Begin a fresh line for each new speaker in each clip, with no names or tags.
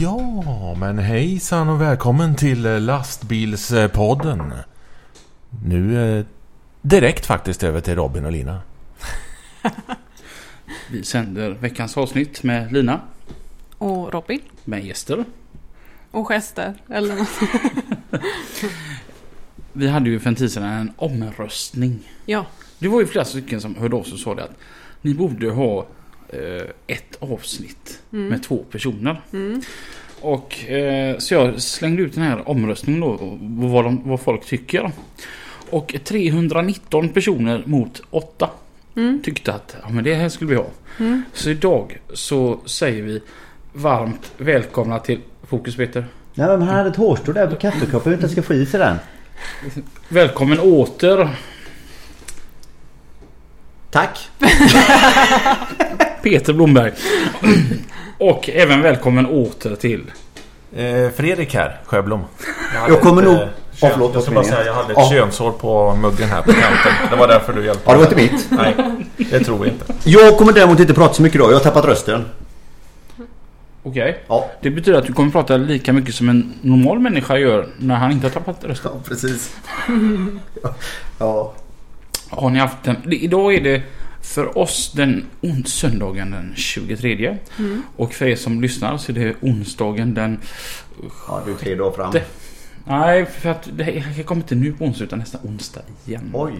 Ja, men hejsan och välkommen till eh, Lastbilspodden. Nu eh, direkt faktiskt över till Robin och Lina.
Vi sänder veckans avsnitt med Lina,
och Robin
med gäster.
och gester eller något.
Vi hade ju för en tid sedan en omröstning.
Ja,
Det var ju flera stycken som hörde av sig och sa det att ni borde ha eh, ett avsnitt med två personer. Och eh, så jag slängde ut den här omröstningen då, och vad, de, vad folk tycker. Och 319 personer mot 8 tyckte att ja, men det här skulle vi ha. Så idag så säger vi varmt välkomna till Fokus Peter.
Nej men han hade ett hårstrå där på kaffekoppen utan ska få i sig den.
Välkommen åter
Tack!
Peter Blomberg. och även välkommen åter till
Eh, Fredrik här, Sjöblom. hade
Jag kommer
ett,
nog-
eh,
Ja,
Kön,
förlåt,
jag ska bara
meningen.
säga, jag hade ett
Ja.
könshår på muggen här på kanten. Det var därför du hjälpte
Ja det var inte
mig.
mitt.
Nej, det tror jag inte.
Jag kommer däremot inte prata så mycket idag. Jag har tappat rösten.
Okej.
Ja.
Det betyder att du kommer prata lika mycket som en normal människa gör när han inte har tappat rösten.
Ja precis. Ja.
Har ni haft en... det- Idag är det för oss den ons- söndagen den 23. Och för er som lyssnar så är det onsdagen den...
Ja du är tre dagar fram.
Det- Nej, för att det här kommer inte nu på onsdag utan nästa onsdag igen.
Oj.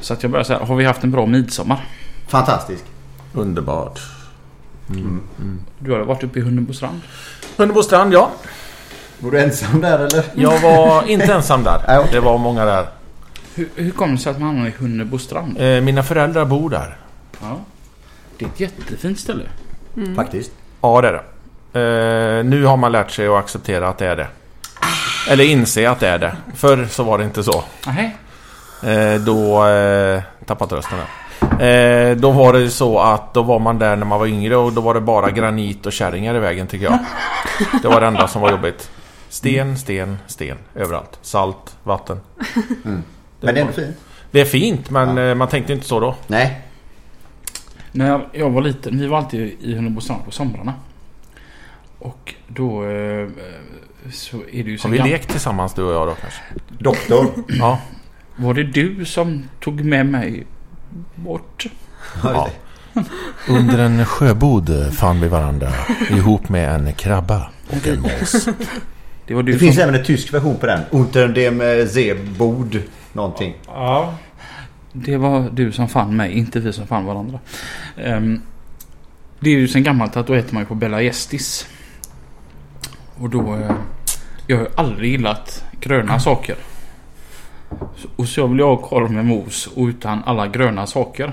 Så att jag börjar säga, har vi haft en bra midsommar?
Fantastisk.
Underbart.
Du har varit uppe i Hunnebostrand.
Hunnebostrand, ja.
Var du ensam där eller?
Jag var inte ensam
Nej,
där.
okej.
Det var många där.
Hur, hur kom det sig att man hamnade i Hunnebostrand?
Eh, mina föräldrar bor där.
Ja. Det är ett jättefint ställe.
Faktiskt.
Ja, det är det. Eh, nu har man lärt sig att acceptera att det är det. Eller inse att det är det. Förr så var det inte så.
Nej.
Eh, då... Eh, tappat rösten där. Eh, då var det så att då var man där när man var yngre och då var det bara granit och kärringar i vägen tycker jag. Det var det enda som var jobbigt. Sten, sten, sten. Överallt. Salt, vatten.
Men det är ändå fint.
Det är fint men eh, man tänkte inte så då.
Nej.
När jag var liten, vi var alltid i Hunnebostrand på somrarna. Och då eh, så är det ju så
Har vi
gam-
lekt tillsammans du och jag då kanske?
Doktor.
Ja.
Var det du som tog med mig bort?
ja. Under en sjöbod fann vi varandra ihop med en krabba och en mås.
Det var du
Det
som...
finns även en tysk version på den. Unter dem Seebod. Någonting.
Ja. Det var du som fann mig, inte vi som fann varandra. Ehm, det är ju sen gammalt att då äter man ju på Bella Gestis. Och då... eh, jag har ju aldrig gillat gröna saker. Så- Och så jag vill jag ha korv med mos och utan alla gröna saker.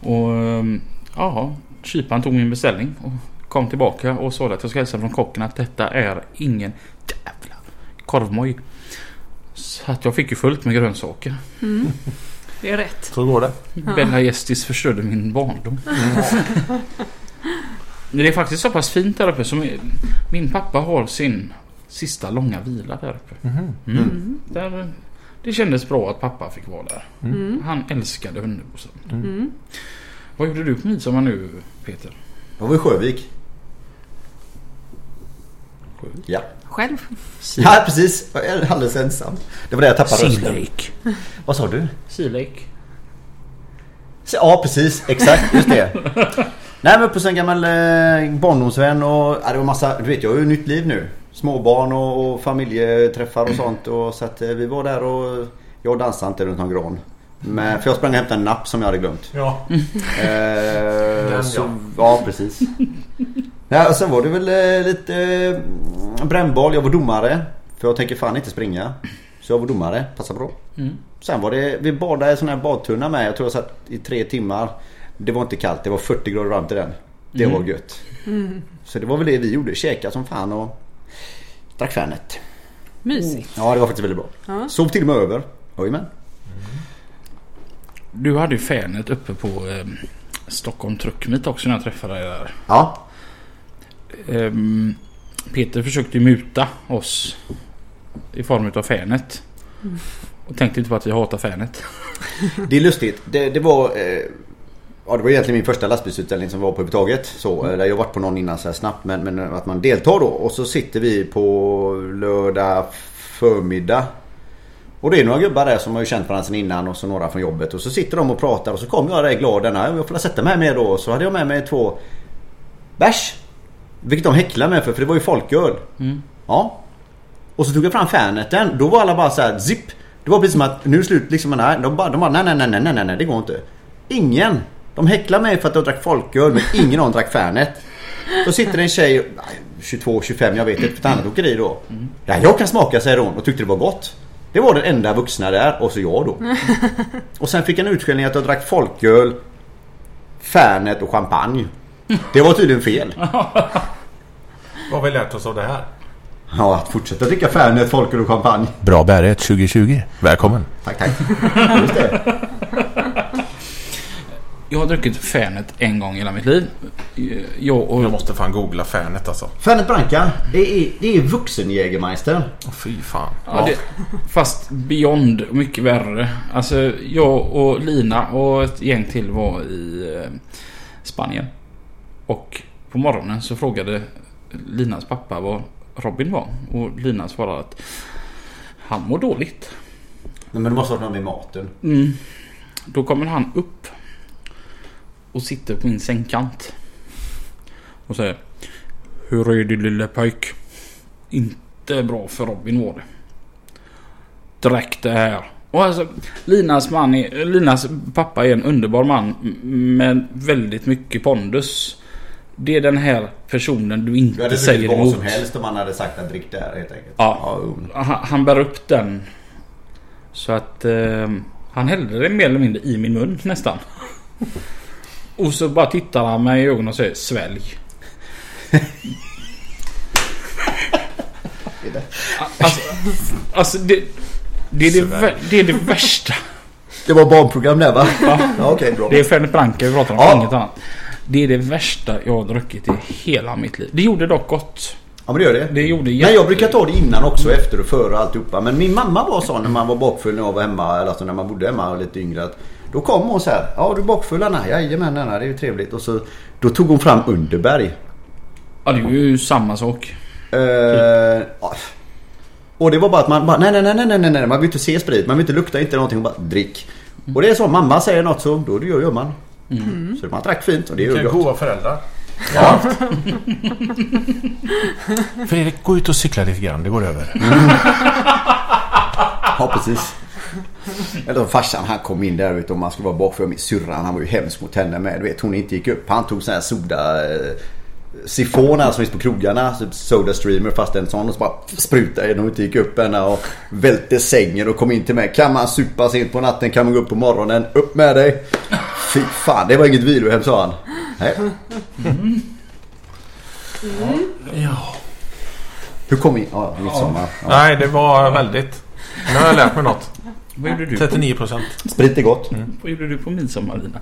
Och ehm, ja, kyparen tog min beställning och kom tillbaka och sa att jag ska hälsa från kocken att detta är ingen jävla korvmoj. Så att jag fick ju fullt med grönsaker.
Mm. det är rätt.
Så går det.
Bella Gestis förstörde min barndom. Men Det är faktiskt så pass fint där uppe som min pappa har sin sista långa vila där uppe. Mm. Där, det kändes bra att pappa fick vara där. Han älskade Hunnebostrand. Vad gjorde du på midsommar nu Peter?
Det var i Sjövik.
Sjövik?
Ja.
Själv?
Ja precis. Jag är alldeles ensam. Det var där jag tappade rösten.
Lake.
Vad sa du?
Sea Lake.
Ja precis, exakt just det. Nej men på en gammal eh, barndomsvän och ja, det var massa, du vet jag har ju nytt liv nu. Småbarn och, och familjeträffar
Mm.
och sånt. Och, så att eh, vi var där och jag dansade inte runt någon gran. Men, för jag sprang och hämtade en napp som jag hade glömt.
Ja.
Eh,
Den,
så, ja precis. Ja, och sen var det väl eh, lite eh, brännboll, jag var domare. För jag tänker fan inte springa. Så jag var domare, passa bra.
Mm.
Sen var det, vi badade i en sån här badtunna med. Jag tror jag satt i tre timmar. Det var inte kallt, det var 40 grader varmt i den. Det var gött. Så det var väl det vi gjorde. Käkade som fan och drack Fernet.
Mysigt.
Ja det var faktiskt väldigt bra.
Ja.
Sov till och med över. Jajamän.
Du hade ju fanet uppe på eh, Stockholm Truck Meet också när jag träffade dig där.
Ja.
Ehm, Peter försökte ju muta oss i form av fanet. Och tänkte inte på att vi hatar fanet.
Det är lustigt. Det, det var... Eh, ja, det var egentligen min första lastbilsutställning som var på överhuvudtaget. Så, eh, där jag varit på någon innan så här snabbt. Men, men att man deltar då. Och så sitter vi på lördag förmiddag. Och det är några gubbar där som har ju känt varandra sedan innan och så några från jobbet. Och så sitter de och pratar och så kom jag där glad denna. Jag får sätta mig med då. Och Så hade jag med mig två bärs. Vilket de häcklade med för, för det var ju folköl. Ja, och så tog jag fram Ferneten. Då var alla bara så här zipp. Det var precis som att nu är det slut liksom. Nej, de bara, de bara nej, nej, nej, nej, nej, nej, nej, det går inte. Ingen. De häcklar mig för att jag drack folköl men ingen av dem drack Fernet. Då sitter det en tjej, nej, 22, 25, jag vet inte, på ett annat åkeri då. Ja, jag kan smaka säger hon och tyckte det var gott. Det var den enda vuxna där och så jag då. Och sen fick jag en utskällning att jag drack folköl, Fernet och champagne. Det var tydligen fel.
Vad har vi lärt oss av det här?
Ja, att fortsätta dricka Fernet, folköl och champagne.
Bra bärighet 2020. Välkommen.
Tack, tack.
Jag har druckit fanet en gång i hela mitt liv. Jag och...
Jag måste fan googla Fernet alltså.
Fernet Branca, det är, det är vuxen Jägermeister.
Åh, fy fan.
Ja, det, fast beyond och mycket värre. Alltså jag och Lina och ett gäng till var i eh, Spanien. Och på morgonen så frågade Linas pappa var Robin var. Och Lina svarade att han mår dåligt.
Nej, men det måste ha varit något med maten.
Mm. Då kommer han upp och sitter på min sängkant. Och säger Hur är det lille pojk? Inte bra för Robin var det. Dräck det här. Och alltså, Linas, man är, Linas pappa är en underbar man m- med väldigt mycket pondus. Det är den här personen du
Du
inte
hade druckit
säger
vad
emot.
som helst om man hade sagt att drick där helt enkelt.
Ja.
um.
Han, han bär upp den. Så att eh, han hällde den mer eller mindre i min mun nästan. Och så bara tittar han mig i ögonen och säger svälj. Alltså, alltså det, det, är det,
Svälj.
vä- det är det värsta.
Det var barnprogram där va? Ja, ja okej bra.
Det är Fernet Branca vi pratar om,
Ja.
inget annat. Det är det värsta jag har druckit i hela mitt liv. Det gjorde dock gott.
Ja men det gör det.
Det gjorde
Nej jag brukar ta det innan också efter och före och alltihopa. Men min mamma var sån när man var bakfull när jag var hemma. Eller alltså när man bodde hemma och lite yngre. Att då kom hon så här. Ja du är bakfull Anna? Jajamän Anna det är ju trevligt. Och så, då tog hon fram Underberg.
Ja, det är ju samma sak.
Eh, ja. och det var bara att man bara, nej, nej, nej, nej, nej, nej, nej, man vill inte se sprit, man vill inte lukta, inte någonting, man bara drick. Och det är så, mamma säger något så, då det gör, gör man. Så man drack fint och det gör
Vilka
gott.
goa föräldrar.
Ja.
Fredrik, gå ut och cykla lite grann. Det går över.
ja, precis. Eller som farsan, han kom in där ute och man skulle vara bakför min syrra, han var ju hemsk mot henne med. Du vet, hon inte gick upp. Han tog sån här soda... Eh, Sifoner som finns på krogarna, typ Soda Streamer fast en sån och så bara sprutade den och inte gick upp henne och välte sängen och kom in till mig. Kan man supa sent på natten kan man gå upp på morgonen. Upp med dig! Fy fan, det var inget vilohem sa han. Nej.
Ja.
Hur kom vi in? Ja, midsommar. Ja.
Nej, det var väldigt. Nu har jag lärt mig något.
Vad gjorde du?
39 procent.
Sprit är gott.
Vad gjorde du på midsommar Lina?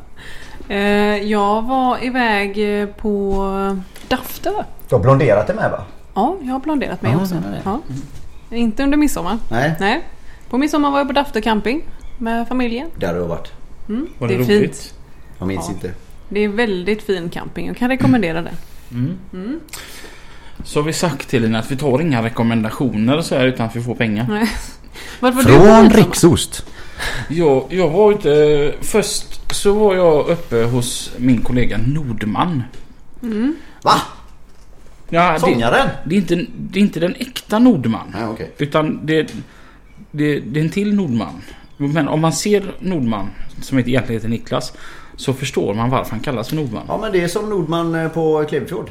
Eh, jag var iväg eh, på Daftö.
Du har blonderat det med va?
Ja, jag har blonderat mig
Ja,
också.
det är det.
Ja. Inte under midsommar.
Nej.
Nej. På midsommar var jag på Daftö camping med familjen.
Där har jag varit.
Mm,
Var det,
är
roligt?
fint.
Jag minns
Ja.
inte.
Det är väldigt fin camping. Jag kan rekommendera den.
Så har vi sagt till Lina att vi tar inga rekommendationer och så här utan att vi får pengar.
Nej. Vart var du på
Från
midsommar?
Riksost.
Jag, jag var ute... Först så var jag uppe hos min kollega Nordman.
Va?
Ja, det,
Sångaren?
det, är inte, det är inte den äkta Nordman.
Nej, okej.
Utan det, det, det är en till Nordman. Men om man ser Nordman, som inte egentligen heter Niklas, så förstår man varför han kallas för Nordman.
Ja men det är som Nordman eh, på Klevefjord.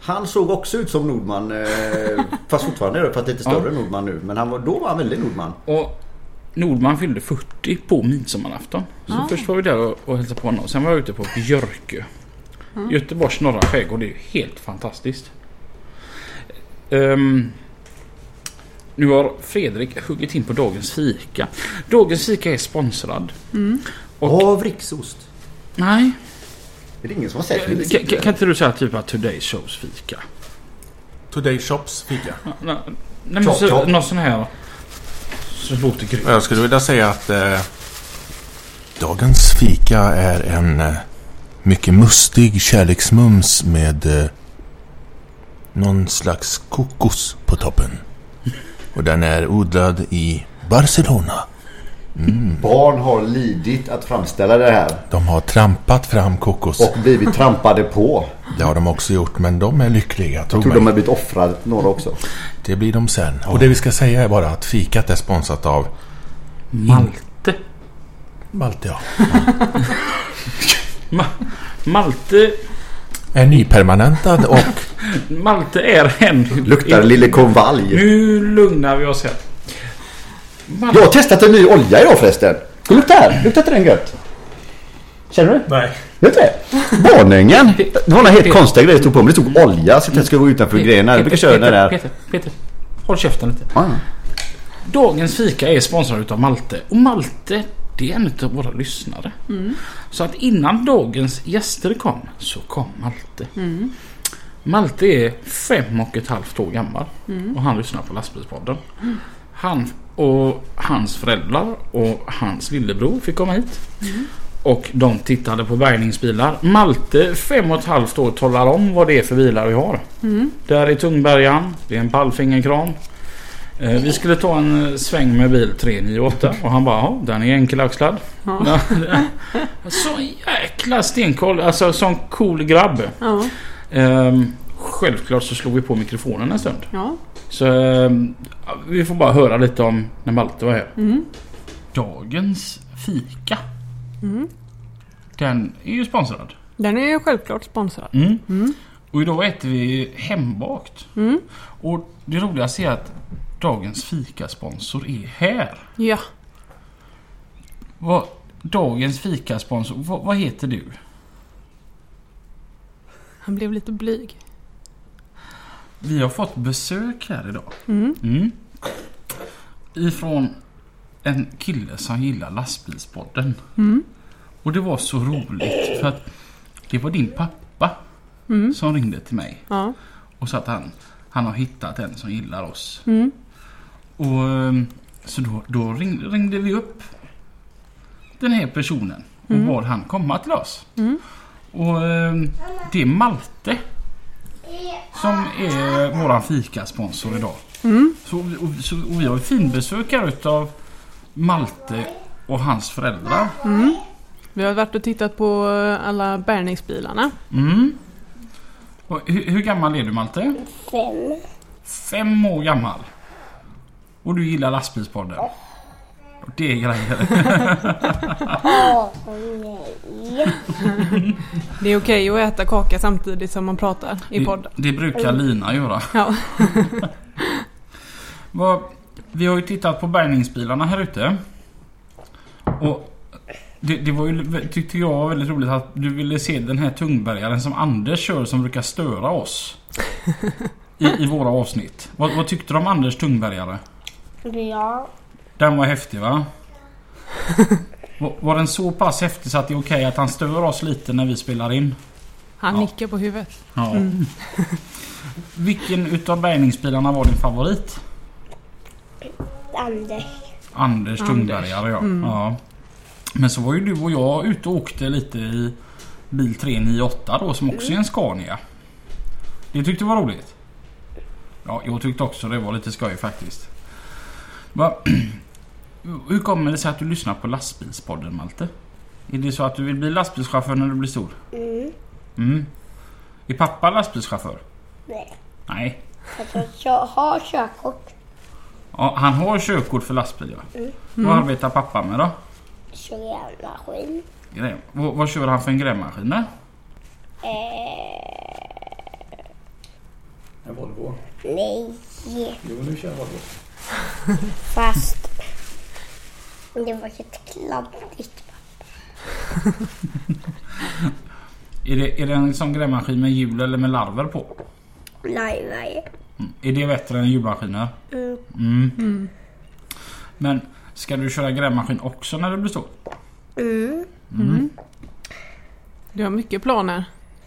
Han såg också ut som Nordman. eh, Fast fortfarande är det, fast lite större
Ja.
Nordman nu. Men han var, då var han väldigt Nordman.
Och Nordman fyllde 40 på midsommarafton. Så
Ah.
först var vi där och, och hälsade på honom. Sen var jag ute på Björkö. Göteborgs norra skärgård. Det är ju helt fantastiskt. Ehm, nu har Fredrik huggit in på dagens fika. Dagens fika är sponsrad. Och-
Av riksost.
Nej,
Är det ingen som har sett
kan,
Riksost?
kan- kan inte du säga typ att Today Shows fika?
Today Shops fika.
Ja, Nej, nej, men
Chop,
så,
chop.
någon sån här. Så det låter grymt.
Jag skulle vilja säga att eh, dagens fika är en eh, mycket mustig kärleksmums med eh, någon slags kokos på toppen. Och den är odlad i Barcelona.
Barn har lidit att framställa det här.
De har trampat fram kokos.
Och blivit trampade på.
Det har de också gjort, men de är lyckliga. Tro
Jag tror
mig.
de har blivit offrade, några också.
Det blir de sen. Och det vi ska säga är bara att fikat är sponsrat av
Malte.
Maltea.
Ma, Malte
Är nypermanentad och
Malte är en...
Luktar lille konvalj.
Nu lugnar vi oss här.
Jag har testat en ny olja idag förresten. Det luktar här. Luktar inte den gött? Känner du?
Nej.
Vet du det? Bornängen. Det var någon helt konstig grej det stod på mig. Det stod olja. Så jag skulle vara utanför grenar. Jag brukar köra den
Peter,
där.
Peter, Peter, håll käften lite.
Ja, ja.
Dagens fika är sponsrad utav Malte. Och Malte, det är en utav våra lyssnare. Så att innan dagens gäster kom, så kom Malte. Malte är fem och ett halvt år gammal. Och han lyssnar på Lastbilspodden. Han och hans föräldrar och hans lillebror fick komma hit. Och de tittade på bärgningsbilar. Malte, fem och ett halvt år, talar om vad det är för bilar vi har. Där är tungbärgaren, det är en pallfingerkran. Eh, Vi skulle ta en eh, sväng med bil 398 och han bara, ja den är enkelaxlad. Ja. så jäkla stenkoll, alltså sån cool grabb.
Ja.
Ehm, Självklart så slog vi på mikrofonen en stund.
ja.
Så ehm, vi får bara höra lite om när Malte var här. Dagens fika. Mm. Den är ju sponsrad.
Den är ju självklart sponsrad.
Mm. Mm. Och idag äter vi hembakt. Och det roligaste är att dagens fikasponsor är här.
Ja.
Vad, dagens fikasponsor, vad, vad heter du?
Han blev lite blyg.
Vi har fått besök här idag. Mm. Ifrån en kille som gillar lastbilspodden. Och det var så roligt för att det var din pappa som ringde till mig.
Ja.
Och så att han, han har hittat en som gillar oss. Och ehm, Så då, då ringde, ringde vi upp den här personen och bad han komma till oss. Och ehm, det är Malte som är våran fikasponsor idag. Så, och, så, och vi har ju finbesök här utav Malte och hans föräldrar.
Vi har varit och tittat på eh, alla bärgningsbilarna.
Mm. Och, hur, hur gammal är du Malte?
Fem.
Fem år gammal. Och du gillar lastbilspodden. Och Det är grejer.
Åh nej.
Det är okej att äta kaka samtidigt som man pratar i podden.
Det, det brukar Lina göra.
Ja.
Vad- Vi har ju tittat på bärgningsbilarna här ute. Och det, det var ju, tyckte jag var väldigt roligt att du ville se den här tungbärgaren som Anders kör som brukar störa oss. I, i våra avsnitt. Vad, vad tyckte du om Anders tungbärgare?
Ja.
Den var häftig va? Var, var den så pass häftig så att det är okej att han stör oss lite när vi spelar in?
Han
Ja.
nickar på huvudet.
Ja. Vilken utav bärgningsbilarna var din favorit?
Anders.
Anders Tungbergare ja. ja. Men så var ju du och jag ute och åkte lite i bil 398 då som också är en Scania. Det tyckte du var roligt? Ja, jag tyckte också det var lite skoj faktiskt. Va? Hur kommer det sig att du lyssnar på lastbilspodden Malte? Är det så att du vill bli lastbilschaufför när du blir stor?
Mm.
Mm. Är pappa lastbilschaufför?
Nej.
Nej.
Alltså, jag har körkort.
Ja, han har körkort för lastbil ja. Vad arbetar pappa med då?
Kör en maskin.
Gräv. Vad, vad kör han för en grävmaskin med?
Eh,
En Volvo.
Nej.
Jo, nu kör jag Volvo.
Fast det var ett kladdigt.
Är det, är det en sån grävmaskin med hjul eller med larver på?
Nej, nej.
Mm. Är det bättre än hjulmaskiner?
Mm.
Mm. Men ska du köra grävmaskin också när du blir stor?
Mm.
Du har mycket planer.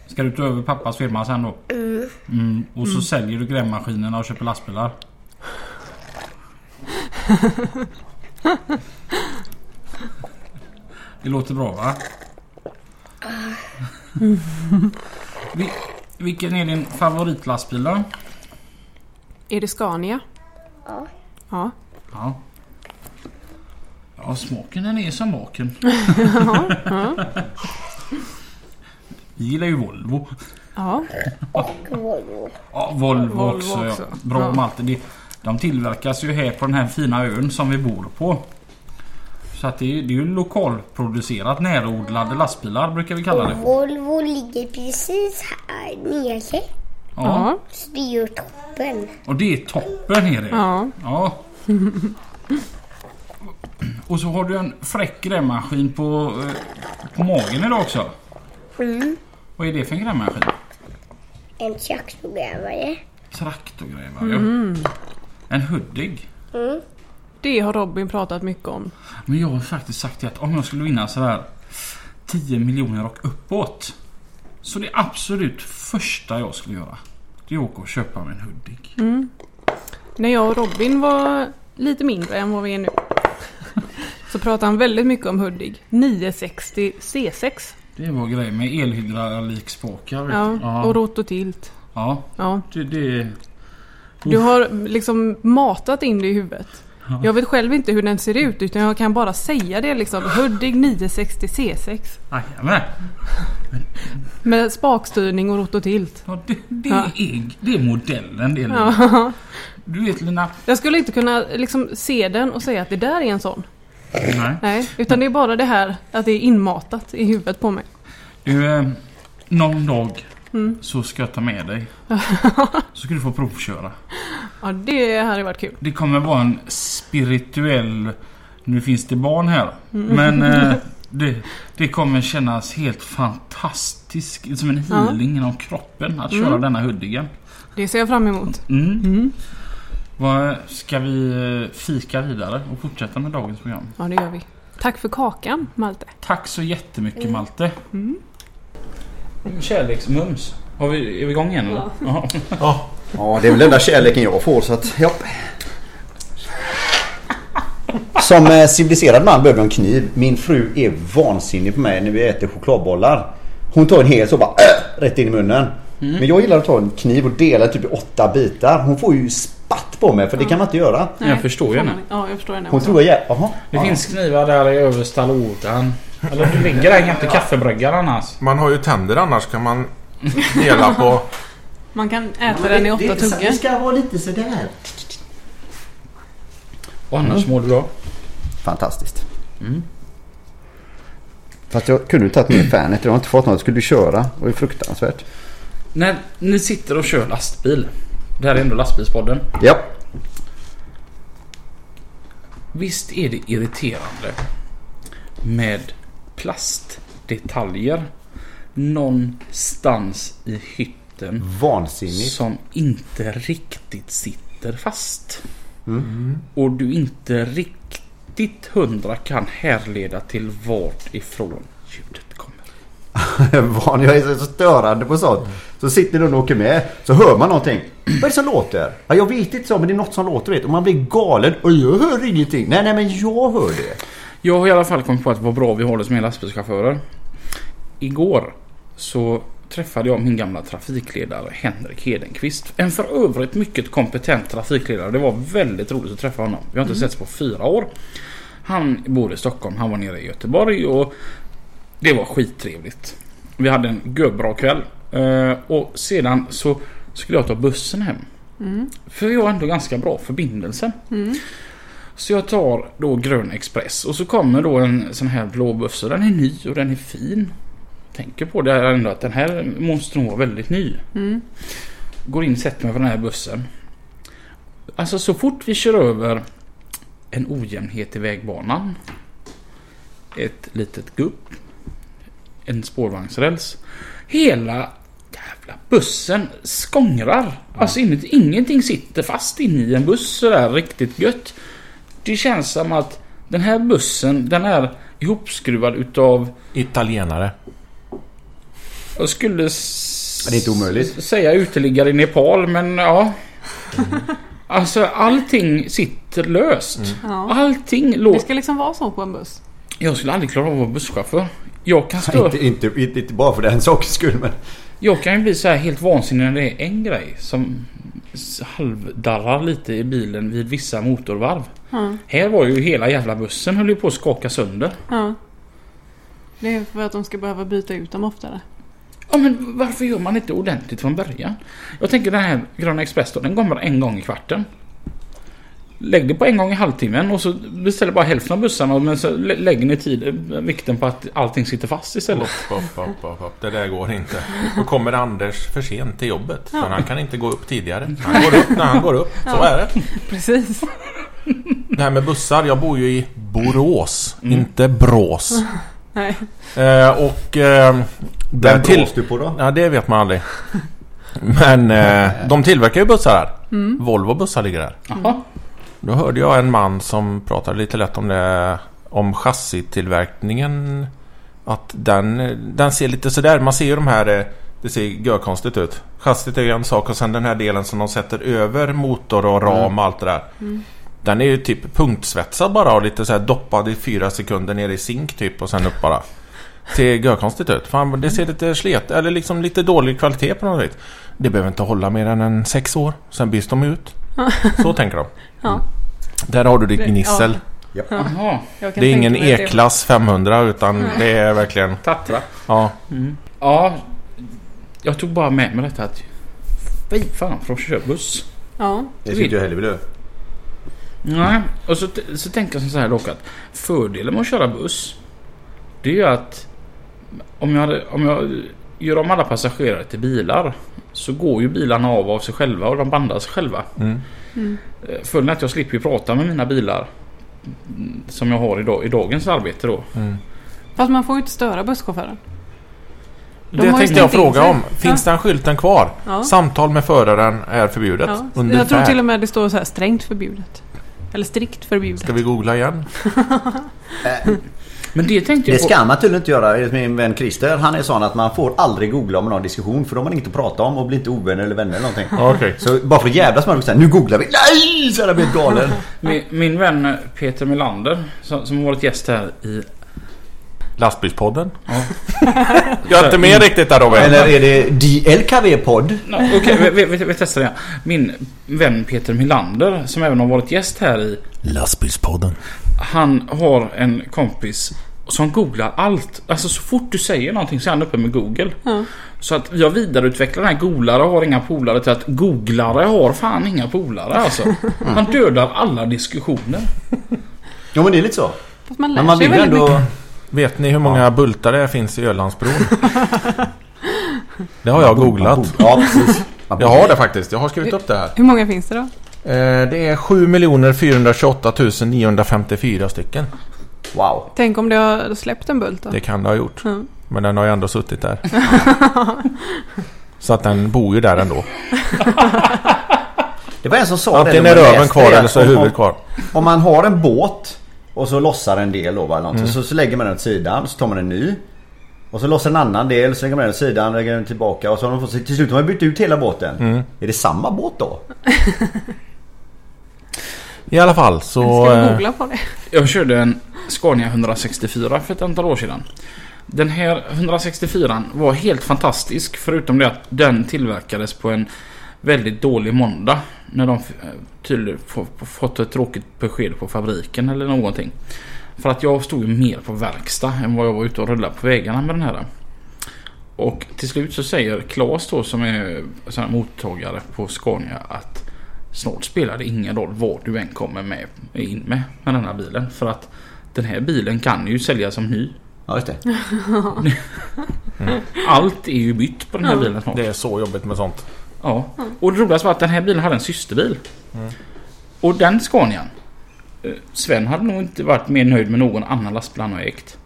Ska du ta över pappas firma sen då?
Mm.
Mm. Och så säljer du grävmaskinerna och köper lastbilar? Det låter bra va? Ah. Vil- vilken är din favoritlastbil då?
Är det Scania?
Ja.
Ja.
Ja. Ja, smaken den är som baken. Vi gillar ju Volvo.
Ja.
Volvo.
Ja, Volvo,
Volvo
också.
också.
Ja. Bra
Ja.
Malte. Det- De tillverkas ju här på den här fina ön som vi bor på. Så att det är, det är ju lokalproducerat närodlade lastbilar brukar vi kalla det. Ja.
Volvo ligger precis här nere.
Ja.
Så det är ju toppen.
Och det är toppen är det.
Ja.
Ja. Och så har du en fräck grävmaskin på, eh, på magen idag också.
Mm.
Vad är det för en grävmaskin?
En köksbegrävare.
Traktorgrävare. En Hudig.
Det har Robin pratat mycket om.
Men jag har faktiskt sagt det att om jag skulle vinna sådär 10 miljoner och uppåt. Så det absolut första jag skulle göra. Det är att åka och köpa mig en Hudik.
När jag och Robin var lite mindre än vad vi är nu. Så pratade han väldigt mycket om Hudig. 960 C6.
Det var grejen med elhydraulikspakar. vet
Ja.
du. ja.
Och rototilt.
ja.
Ja.
Det, det...
Du har liksom matat in det i huvudet. Jag vet själv inte hur den ser ut utan jag kan bara säga det liksom. Hudig 960 C6.
Jajamän.
Med spakstyrning och rototilt.
Ja, det, det,
Ja.
Är, det är modellen det är Lina.
Ja.
Du vet Lina.
Jag skulle inte kunna liksom se den och säga att det där är en sån.
Nej.
Nej, utan det är bara det här att det är inmatat i huvudet på mig.
Du, eh, någon dag
Mm.
så ska jag ta med dig. så ska du få provköra.
Ja, det hade varit kul.
Det kommer vara en spirituell... Nu finns det barn här. Men eh, det, det kommer kännas helt fantastiskt. Som en healing inom kroppen att köra denna Hudigen.
Det ser jag fram emot.
Mm. Vad, ska vi eh, fika vidare och fortsätta med dagens program?
Ja, det gör vi. Tack för kakan, Malte.
Tack så jättemycket Malte. Kärleksmums. Har vi, är vi igång igen eller? Ja.
Ja.
Ja, det är väl den enda kärleken jag får så att, japp. Som eh, civiliserad man behöver jag en kniv. Min fru är vansinnig på mig när vi äter chokladbollar. Hon tar en hel så bara äh, rätt in i munnen. Men jag gillar att ta en kniv och dela typ i åtta bitar. Hon får ju spatt på mig för det kan man inte göra.
Jag förstår ju
får
henne.
man inte. Ja, jag förstår henne.
Hon tror jag är... Jaha.
Det finns knivar där i översta lådan. Eller du ligger där jämte kaffebryggaren annars.
Man har ju tänder annars kan man dela på...
Man kan äta den i åtta tuggor.
Det ska vara lite sådär.
Och annars mår du bra.
Fantastiskt. Fast jag kunde ju tagit med fanet. Jag har inte fått något. Jag skulle köra. Det var ju fruktansvärt.
När ni sitter och kör lastbil. Det här är ändå lastbilspodden.
Ja.
Visst är det irriterande med plastdetaljer någonstans i hytten
Vansinnigt.
som inte riktigt sitter fast. Och du inte riktigt hundra kan härleda till vart ifrån ljudet kommer.
van. Jag är så störande på sånt. Så sitter någon och åker med. Så hör man någonting. Vad är det som låter? Ja, jag vet inte så men det är något som låter vet. Och man blir galen. Och jag hör ingenting. Nej, nej men jag hör det.
Jag har i alla fall kommit på att vad bra vi har det som är lastbilschaufförer. Igår så träffade jag min gamla trafikledare Henrik Hedenqvist. En för övrigt mycket kompetent trafikledare. Det var väldigt roligt att träffa honom. Vi har inte setts på fyra år. Han bor i Stockholm, han var nere i Göteborg och det var skittrevligt. Vi hade en göbra kväll Eh, och sedan så skulle jag ta bussen hem. För vi har ändå ganska bra förbindelse.
Mm,
Så jag tar då Grön Express och så kommer då en sån här blå buss och den är ny och den är
mm,
fin. Tänker på det här ändå att den här måste nog vara väldigt ny. Går in och sätter mig på den här bussen. Alltså så fort vi kör över en ojämnhet i vägbanan. Ett litet gupp. En spårvagnsräls. Hela jävla bussen skångrar. Alltså inuti, ingenting sitter fast inne i en buss sådär riktigt gött. Det känns som att den här bussen den är ihopskruvad utav
Italienare.
jag skulle... s-
Det är inte omöjligt.
Säga uteliggare i Nepal, men ja. Alltså allting sitter
Mm.
löst.
Ja.
Allting
Det
låter...
ska liksom vara så på en buss.
Jag skulle aldrig klara av att vara busschaufför. Jag kan, stå...
Inte, inte, inte, inte bara för den sakens skull men...
jag kan ju bli så här helt vansinnig när det är en grej som s- halvdarrar lite i bilen vid vissa motorvarv.
Ja.
Här var ju hela jävla bussen höll ju på att skaka sönder.
Ja. Det är för att de ska behöva byta ut dem oftare.
Ja men varför gör man inte ordentligt från början? Jag tänker den här Gröna Express då, den kommer en gång i kvarten. Lägg det på en gång i halvtimmen och så beställer bara hälften av bussarna men så lä- lägger ni tid, vikten på att allting sitter fast istället.
Upp, upp, upp, upp, upp. Det där går inte. Då kommer Anders för sent till jobbet. För han kan inte gå upp tidigare. Han går upp när han går upp. Så är det.
Precis.
Det här med bussar. Jag bor ju i Borås. Inte Brås.
Nej.
Eh, och... Eh,
Vem
den till...
blåste du på då?
Ja, det vet man aldrig. Men eh, de tillverkar ju bussar här. Volvo bussar ligger där.
Jaha.
Då hörde jag en man som pratade lite lätt om det Om chassitillverkningen Att den, den ser lite sådär Man ser ju de här eh, Det ser görkonstigt ut Chassit är ju en sak och sen den här delen som de sätter över motor och ram
Mm.
och allt det där Den är ju typ punktsvetsad bara och lite så här doppad i fyra sekunder ner i zink typ och sen upp bara Ser görkonstigt ut. Fan, det ser lite slet eller liksom lite dålig kvalitet på något vis. Det behöver inte hålla mer än en sex år. Sen byts de ut. Så tänker de.
Ja.
Där har du ditt
Det-
gnissel.
Jaha.
Jag kan
Det är
tänka
ingen
mig att det-
E-klass 500 utan det är verkligen...
Tattra.
Ja.
Ja. Jag tog bara med mig detta att... Fy fan för de kör buss.
Ja.
Det skulle inte jag heller vilja göra.
Nej, och så, t- så tänker jag så här dock att fördelen med att köra buss Det är ju att om jag, hade- om jag gör om alla passagerare till bilar Så går ju bilarna av av sig själva och de bandar sig själva
Mm.
Eh, Följden är att jag slipper ju prata med mina bilar mm, Som jag har idag, i dagens arbete då
mm.
Fast man får ju inte störa busschauffören. De har
det
ju
tänkte jag
stängt in
fråga
sig.
om. Finns den skylten kvar?
Ja.
Samtal med föraren är förbjudet.
Ja.
Under
Jag tror
färd.
till och med det står så här strängt förbjudet. Eller strikt förbjudet.
Ska vi googla igen?
Men det tänkte
Det
jag på
ska man tydligen inte göra. Min vän Christer han är sån att man får aldrig googla om någon diskussion för de har man inget att prata om och blir inte ovänner eller vänner eller någonting.
Ja, Okej.
Så bara för att jävlas med dem säger nu googlar vi. Nej! Så jag blir helt galen.
min, min vän Peter Melander som, som har varit gäst här i...
Lastbilspodden.
Ja.
Jag är inte med riktigt där Robin.
Eller är det DLKV-podd?
No, Okej, vi, vi, vi, vi testar det. här. Min vän Peter Melander som även har varit gäst här i
Lastbilspodden.
Han har en kompis som googlar allt. Alltså så fort du säger någonting så är han uppe med Google. Så att jag vidareutvecklar den här golare har inga polare till att googlare har fan inga polare alltså. Han dödar alla diskussioner.
Jo men det är lite så.
Fast man lär
Men man
sig
vill ju
väldigt mycket.
ändå...
Vet ni hur många bultar det finns i Ölandsbron? det har jag googlat.
Ja precis. Man
Jag har det faktiskt. Jag har skrivit upp det här.
Hur många finns det då?
Eh, Det är 7 428 954 stycken.
Wow.
Tänk om det har släppt en bult då?
Det kan det ha gjort.
Mm.
Men den har ju ändå suttit där. Så att den bor ju där ändå.
Det var en som sa
Antingen
det.
är
när man
röven
läste
kvar
det,
eller så är
om- om-
huvudet kvar.
Om man har en båt och så lossar en del då va, eller någonting, så, så lägger man den åt sidan så tar man en ny. Och så lossar en annan del, så lägger man den åt sidan, lägger den tillbaka och så har de fått, så till slut har man bytt ut hela båten. Är det samma båt då?
I alla fall så...
Ska vi
eh,
googla på det?
Jag körde en Scania 164 för ett antal år sedan. Den här 164 var helt fantastisk förutom det att den tillverkades på en väldigt dålig måndag. När de eh, tydligen få- få- fått ett tråkigt besked på fabriken eller någonting. För att jag stod ju mer på verkstad än vad jag var ute och rullade på vägarna med den här. Och till slut så säger Claes då som är så här mottagare på Scania att Snart spelar det ingen roll vad du än kommer med, in med med den här bilen. För att den här bilen kan ju säljas som ny.
Ja just det.
Allt är ju bytt på den här bilen snart.
eh, Det är så jobbigt med sånt.
Ja. Och det roligaste var att den här bilen hade en systerbil. Och den Scanian. eh, Sven hade nog inte varit mer nöjd med någon annan lastbil han har ägt.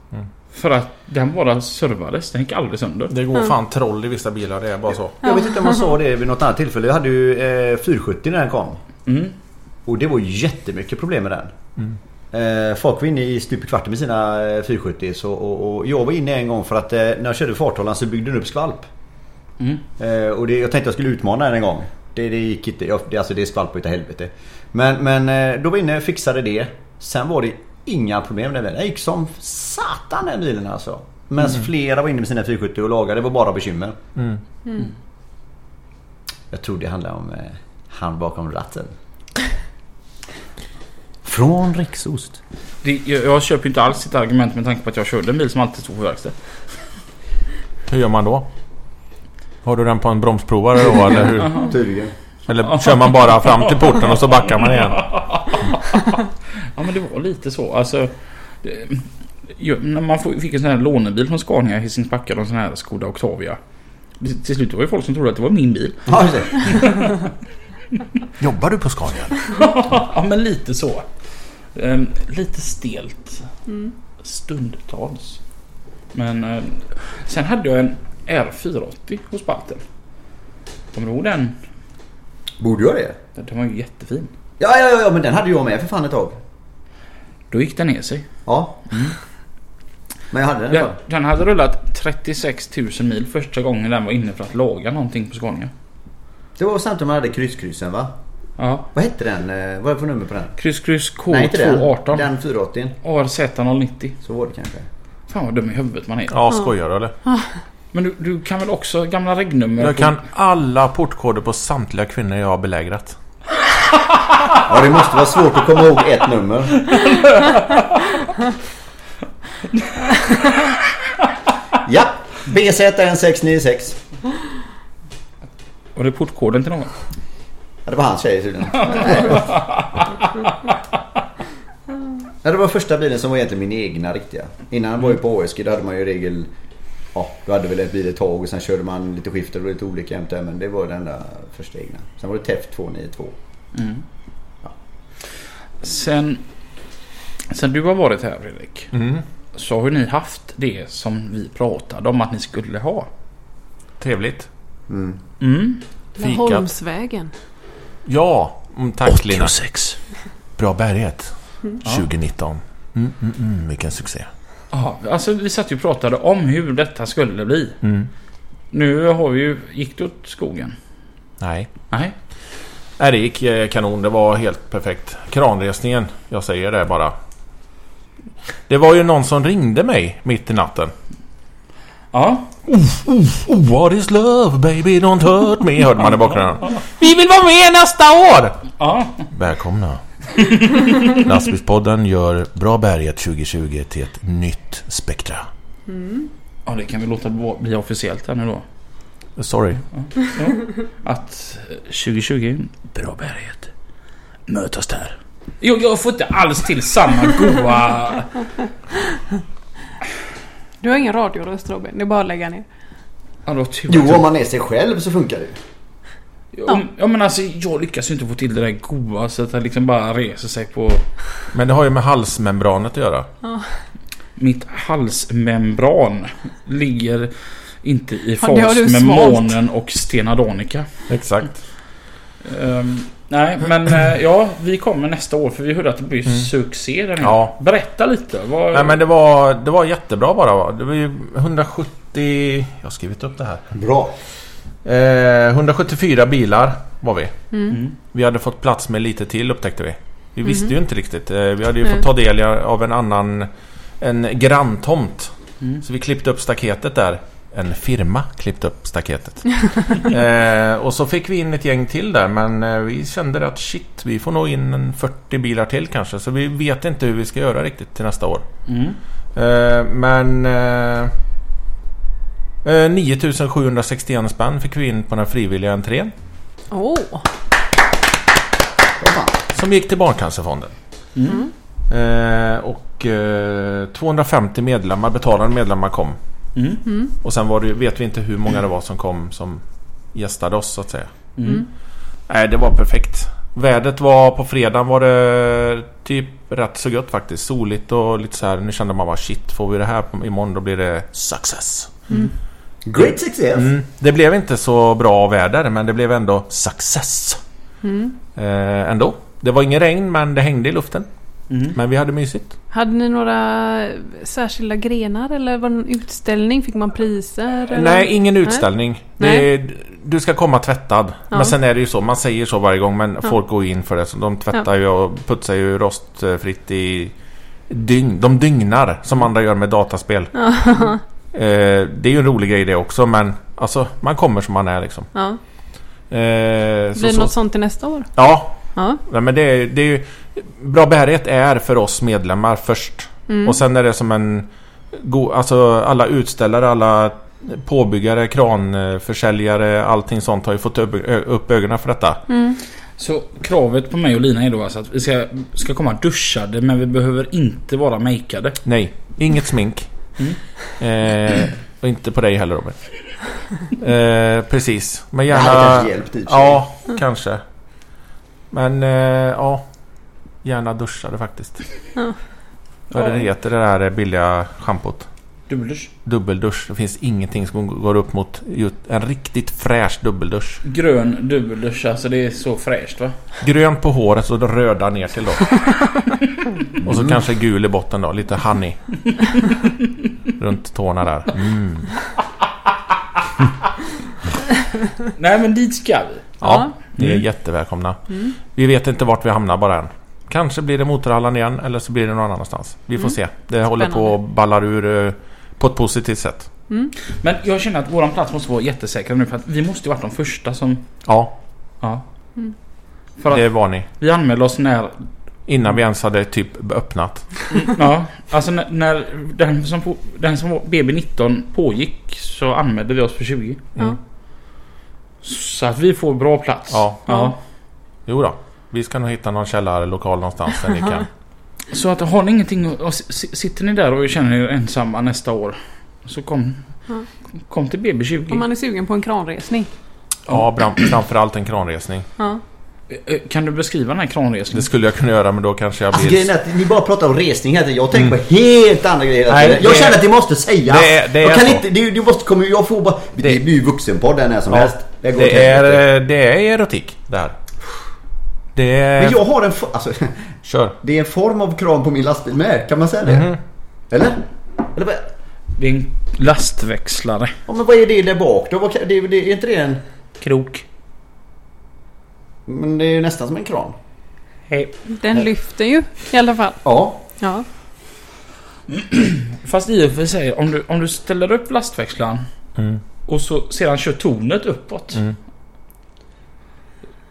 För att den bara servades. Den gick aldrig sönder.
Det går fan troll i vissa bilar, det är bara så.
Jag vet inte om man sa det vid något annat tillfälle. Jag hade ju eh, 470 när den kom.
Mm.
Och det var ju jättemycket problem med den. Eh, folk var inne i stup i kvarten med sina eh, 470 så, och, och jag var inne en gång för att eh, när jag körde farthållaren så byggde den upp skvalp.
Mm.
Eh, och det, jag tänkte jag skulle utmana den en gång. Det, det gick inte. Jag, det, alltså det är skvalp utav helvete. Men, men eh, då var jag inne och fixade det. Sen var det inga problem med den bilen. Den gick som satan den bilen alltså. Medan flera var inne med sina 470 och lagade. Det var bara bekymmer. Jag tror det handlar om eh, han bakom ratten. Från Riksost.
Det, jag, jag köper ju inte alls ditt argument med tanke på att jag körde en bil som alltid stod på verkstad.
Hur gör man då? Har du den på en bromsprovare då eller hur?
Tydligen.
Eller kör man bara fram till porten och så backar man igen?
Ja men det var lite så. Alltså, det, ju, när man får- fick en sån här lånebil från Scania i Hisings Backa, en sån här Skoda Octavia. Till till slut var det folk som trodde att det var min bil.
Ja, just det. Jobbar du på Scania?
Ja men lite så. Ehm, lite stelt. Stundtals. Men ehm, sen hade jag en R480 hos Balten. Kommer du ihåg den?
Borde jag det?
Den var ju jättefin.
Ja, ja, ja, ja, men den hade jag med för fan ett tag.
Då gick den ner sig.
Ja. Mm. Men jag hade den i alla
Den,
fall.
den hade rullat 36 000 mil första gången den var inne för att laga någonting på Scania.
Det var samtidigt man hade krysskryssen va?
Ja.
Vad hette den? Eh, Vad är det för nummer på den?
Kryss kryss
Nej inte den.
K218
Den 480.
ARZ090.
Så var det kanske.
Fan vad dum i huvudet man är.
Ja, skojar du eller?
Men du, du kan väl också gamla regnummer?
Jag
på-
kan alla portkoder på samtliga kvinnor jag har belägrat.
Ja det måste vara svårt att komma ihåg ett nummer. ja. BZ1696.
Var det portkoden till någon?
Ja, det var hans tjej tydligen. Ja, det var första bilen som var egentligen min egna riktiga. Innan var jag på ASG. Då hade man ju i regel... Ja, då hade väl en bil ett tag och sen körde man lite skifter och lite olika jämte. Men det var den där första egna. Sen var det TEF 292.
Sen, sen du har varit här Fredrik.
Mm.
Så har ni haft det som vi pratade om att ni skulle ha.
Trevligt.
Mm.
Fikat.
Laholmsvägen.
Ja, mm, tack Lina.
86.
Bra bärighet. 2019. Mm, mm, mm, vilken succé.
Ja, alltså vi satt ju och pratade om hur detta skulle bli. Nu har vi ju... Gick det åt skogen?
Nej.
Nej.
Nej, det gick eh, kanon. Det var helt perfekt. Kranresningen. Jag säger det bara. Det var ju någon som ringde mig mitt i natten.
Ja.
Oh, what is love baby don't hurt me hörde man i bakgrunden. Vi vill vara med nästa år!
Ja.
Välkomna. Lastbilspodden gör Bra bärighet 2020 till ett nytt spektra.
Ja, det kan vi låta bli officiellt här nu då.
Sorry.
att 2020, bra bärighet. Möt oss där. Jo, jag får inte alls till samma goa...
Du har ingen radioröst Robin, det är bara att lägga ner.
Ja, då tur att
Jo, om
jag-
man är sig själv så funkar det ju.
Ja, ja, men alltså jag lyckas ju inte få till det där goa så att det liksom bara reser sig på
Men det har ju med halsmembranet att göra.
mitt halsmembran. Ligger inte i
Ja, det har
fas
du
med
svalt.
månen och Stena Danica.
Exakt.
Ehm, nej, men eh, ja, vi kommer nästa år för vi hörde att det blir succé där nu.
Ja.
Berätta lite. Vad...
Nej men det var, det var jättebra bara. va? Det var ju 170... Jag har skrivit upp det här.
Bra.
Eh, 174 bilar var vi.
Mm.
Vi hade fått plats med lite till upptäckte vi. Vi visste ju inte riktigt. Eh, vi hade ju fått ta del av en annan... En granntomt.
Mm.
Så vi klippte upp staketet där. En firma klippte upp staketet. eh, och så fick vi in ett gäng till där men eh, vi kände att shit, vi får nog in en 40 bilar till kanske. Så vi vet inte hur vi ska göra riktigt till nästa år.
Mm.
Eh, men... Eh, eh, 9761 spänn fick vi in på den frivilliga entrén.
Åh!
Vad fan.
Som gick till Barncancerfonden. Eh, och eh, 250 medlemmar, betalande medlemmar kom.
Mm.
Och sen var det, ju- vet vi inte hur många det var som kom som gästade oss så att säga.
Mm.
Nej, det var perfekt. Vädret var på fredagen var det typ rätt så gött faktiskt. Soligt och lite så här. Nu kände man bara shit, får vi det här på- imorgon då blir det success.
Great success!
Mm. Det blev inte så bra väder men det blev ändå success. Eh, ändå. Det var ingen regn men det hängde i luften.
Mm.
Men vi hade mysigt.
Hade ni några särskilda grenar eller var det någon utställning? Fick man priser? Eller?
Nej, ingen utställning.
Nej.
Det är, du ska komma tvättad.
Ja.
Men sen är det ju så, man säger så varje gång men folk går ju in för det. Så de tvättar ju och putsar ju rostfritt i dygn. De dygnar som andra gör med dataspel. Eh, det är ju en rolig grej det också men alltså man kommer som man är liksom.
Ja.
Eh, så,
Blir det
så,
något sånt till nästa år?
Ja,
Ja.
Nej, men det, är- det är ju, bra bärighet är för oss medlemmar först. Och sen är det som en... Go, alltså alla utställare, alla påbyggare, kranförsäljare, allting sånt har ju fått upp, ö- upp ögonen för detta.
Mm.
Så kravet på mig och Lina är då alltså att vi ska, ska komma duschade men vi behöver inte vara makeade.
Nej, inget smink.
Mm.
Eh, och inte på dig heller Robert. Eh, precis. Men
Det
gärna...
hade kanske hjälpt i och för sig.
Ja, kanske. Men eh, ja, gärna duschade faktiskt.
Ja.
Vad är det det heter det där billiga schampot?
Dubbeldusch.
Dubbeldusch. Det finns ingenting som går upp mot ju- en riktigt fräsch dubbeldusch.
Grön dubbeldusch alltså det är så fräscht va?
Grön på håret och den röda ner till då. Och så kanske gul i botten då. Lite honey. Runt tårna där. Mm.
Nej men dit ska vi.
Ja,
Ja.
ni är
Mm.
jättevälkomna. Vi vet inte vart vi hamnar bara än. Kanske blir det Motorhallen igen eller så blir det någon annanstans. Vi får se. Det håller på och ballar ur eh, på ett positivt sätt.
Mm.
Men jag känner att våran plats måste vara jättesäkra nu för att vi måste ju varit de första som...
Ja,
Ja. För att
det var ni.
vi anmälde oss när...
Innan vi ens hade typ öppnat.
Ja, alltså när, när den som, på- den som var BB19 pågick så anmälde vi oss för 20.
Ja.
Mm.
Så att vi får bra plats.
Ja.
ja.
Jo då. Vi ska nog hitta någon källarlokal någonstans där ni kan.
Så att har ni ingenting och- och s- s- sitter ni där och känner er ensamma nästa år. Så kom,
Ja.
kom till BB20.
Om man är sugen på en kranresning?
Ja, bram- framförallt en kranresning.
Ja.
Eh, eh, Kan du beskriva den här
Det
kranresningen?
skulle jag kunna göra men då kanske jag
Alltså grejen är
blir...
att ni bara pratar om resning hela tiden. Jag tänker på helt andra grejer hela
Mm. Nej,
tiden. Jag
det är-
känner att det måste sägas.
Det är- det är
jag kan
så.
inte, du, du måste komma jag får bara... Det, blir ju vuxenpodd här när som helst. Det går åt
Det
helvete.
är, eh, det är erotik det här. Det
Men
är...
jag har en... for- Alltså,
Kör.
det är en form av kran på min lastbil med. Kan man säga det?
Mhm.
Eller? Eller vad...
Det är en lastväxlare.
Ja, men vad är det där bak då? Vad kan- Det, det, är inte det en...
Krok.
Men det är ju nästan som en kran.
Hej.
Den lyfter ju i alla fall.
Ja.
Ja.
Fast i och för sig, om du, om du ställer upp lastväxlaren
Mm.
och så sedan kör tornet uppåt.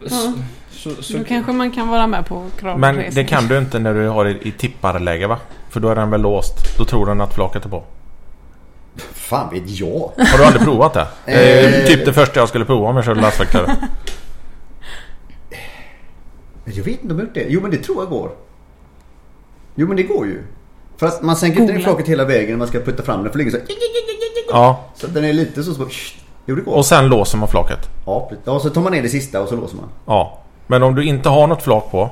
Så, så, så,
Då kanske man kan vara med på kranresning.
Men det kan du inte när du har det i tipparläge va? För då är den väl låst? Då tror den att flaket är på.
Fan vet jag.
Har du aldrig provat det? det är
Eh.
typ det första jag skulle prova om jag körde lastväktare.
Men Jag vet inte om jag gjort det. Jo men det tror jag går. Jo men det går ju. För att man sänker inte
Googla.
ner flaket hela vägen när man ska putta fram den för länge så.
Ja.
Så att den är lite så som... Jo det går.
Och sen låser man flaket.
Ja, precis. ja, så tar man ner det sista och så låser man.
Ja. Men om du inte har något flak på.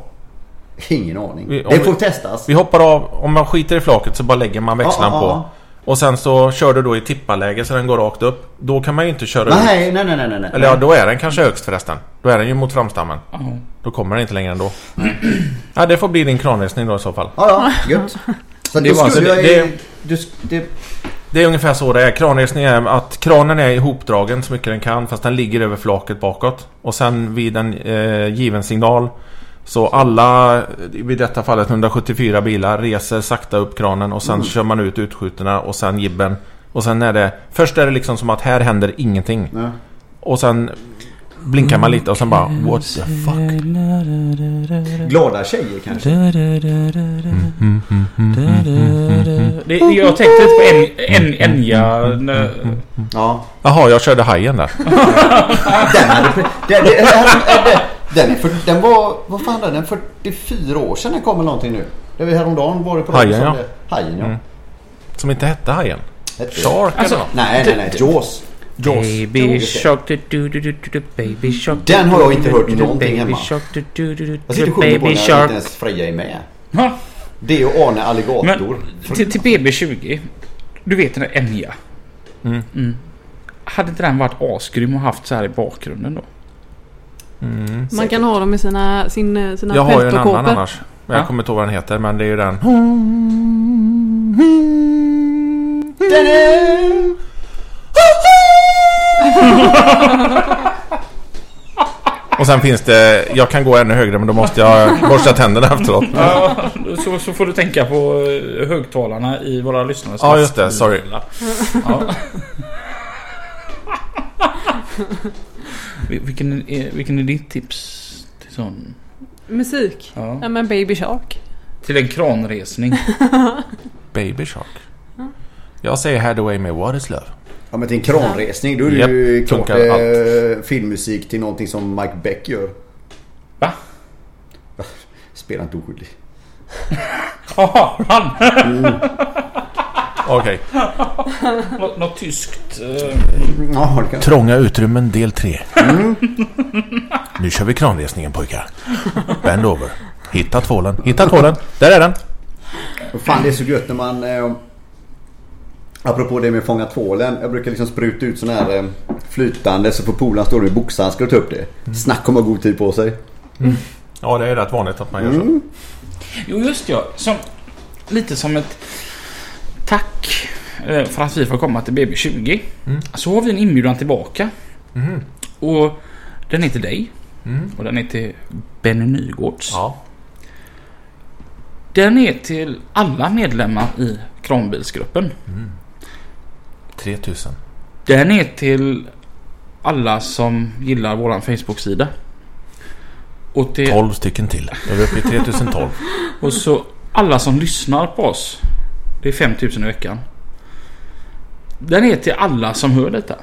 Ingen aning.
Vi- om
det
vi-
får testas.
Vi hoppar av. Om man skiter i flaket så bara lägger man växlaren
Ja, ja,
på.
ja.
Och sen så kör du då i tipparläge så den går rakt upp. Då kan man ju inte köra ut.
Nej, nej, nej, nej, nej, nej.
Eller ja, då är den kanske högst förresten. Då är den ju mot framstammen.
ja.
Då kommer den inte längre ändå. Ja, det får bli din kranresning då i så fall.
Ja, ja, gött. Så
Det
det
var-
var skulle
så det-
jag...
det-
Du, sk- det,
Det är ungefär så det är. Kranresning är att kranen är ihopdragen så mycket den kan fast den ligger över flaket bakåt. Och sen vid en eh, given signal så alla, vid detta fallet 174 bilar, reser sakta upp kranen och sen kör man ut utskjutorna och sen jibben. Och sen är det, först är det liksom som att här händer ingenting.
nej.
Och sen blinkar man lite och sen bara what the fuck.
Glada tjejer kanske.
mm.
Det, det- jag tänkte lite på en, en, Enja... nö-
Ja.
Jaha, jag körde hajen där.
Den hade... Den, den, den, den, är för, den var... Vad fan är den? 44 år sedan den kom eller någonting nu. Det var häromdagen var det på
Hajen,
som
ja. Mm.
det- Hajen ja.
Som inte hette hajen.
Hette det.
Shark eller
Alltså,
något.
Nej, nej, nej. Jaws.
Jaws.
Baby shark du du du du du du baby shark
Mm. Den har jag inte hört
du- du-
någonting
baby
hemma.
Shark, du, du, du, du,
Jag sitter och
baby
sjunger på den här, inte
shark.
ens Freja är med.
Ha,
Det är ju Arne Alligator.
Men till, till BB20. Du vet den där Enya.
Mm.
Hade inte den varit asgrym och haft så här i bakgrunden då?
Man kan ha dem i sina, sin, sina
Jag har ju en annan
peltokåpor.
annars. Men jag
Ja.
kommer inte ihåg vad den heter men det är ju den. Och sen finns det... Jag kan gå ännu högre men då måste jag borsta tänderna efteråt.
Ja, så, så får du tänka på eh, högtalarna i våra lyssnares
Ja, just det. Sorry.
lastbilar. Ja. Vil- vilken, är, vilken är ditt tips till sån?
Musik.
Ja.
Ja men Baby Shark.
Till en kranresning.
Baby Shark. Jag säger Hadaway med What is Love.
Ja men till en kranresning. Då är det
Japp,
ju klart
funkar
eh, filmmusik till någonting som Mike Beck gör.
Va?
Spela inte oskyldig.
Jaha, han!
Okej.
Nå- Något tyskt. eh,
Ja, det kan...
Trånga utrymmen del 3. Nu kör vi kranresningen pojkar. Bend over. Hitta tvålen. Hitta tvålen. Där är den.
Och Fan det är så gött när man... Eh, apropå det med att fånga tvålen. Jag brukar liksom spruta ut sån här eh, flytande så får polaren stå med boxhandskar och ta upp det. Snack om att ha god tid på sig.
Ja, det är rätt vanligt att man gör så.
Mm.
Jo, just ja. Som, lite som ett tack eh, för att vi får komma till BB20. Så har vi en inbjudan tillbaka. Och den är till dig. Och den är till Benny Nygårds.
Ja.
Den är till alla medlemmar i kranbilsgruppen.
3000.
Den är till alla som gillar våran Facebook-sida. Och till
12 stycken till. Då är vi uppe i 3012.
Och så alla som lyssnar på oss. Det är 5000 i veckan. Den är till alla som hör detta.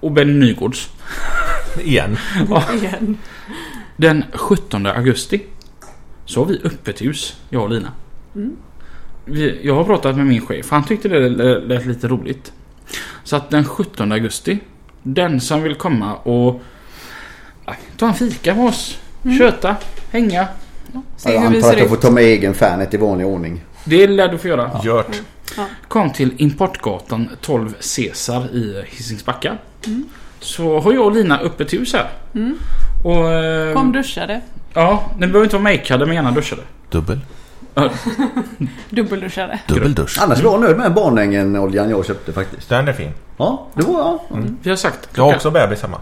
Och Benny Nygårds.
Igen.
Igen.
Den 17 augusti. Så har vi öppet hus, jag och Lina. Vi, jag har pratat med min chef. Han tyckte det lät lät lite roligt. Så att den 17 augusti. Den som vill komma och ja, ta en fika med oss. Köta, hänga.
Se
Jag
hur vi
antar
ser
att jag får
ut.
ta med egen fanet i vanlig ordning.
Det lär du få göra.
Gjort.
kom till Importgatan 12 Cesar i Hisingsbacka. Så har jag och Lina öppet hus här. Och, eh,
Kom duschade.
Ja, ni behöver inte vara makeade men gärna duschade.
Dubbel.
Dubbelduschade.
Dubbeldusch.
Annars var jag nöjd med Barnängen-oljan jag köpte faktiskt.
Den är fin.
Ja, det var jag. Mm.
Vi har sagt
Jag har
klockan.
också bebis hemma.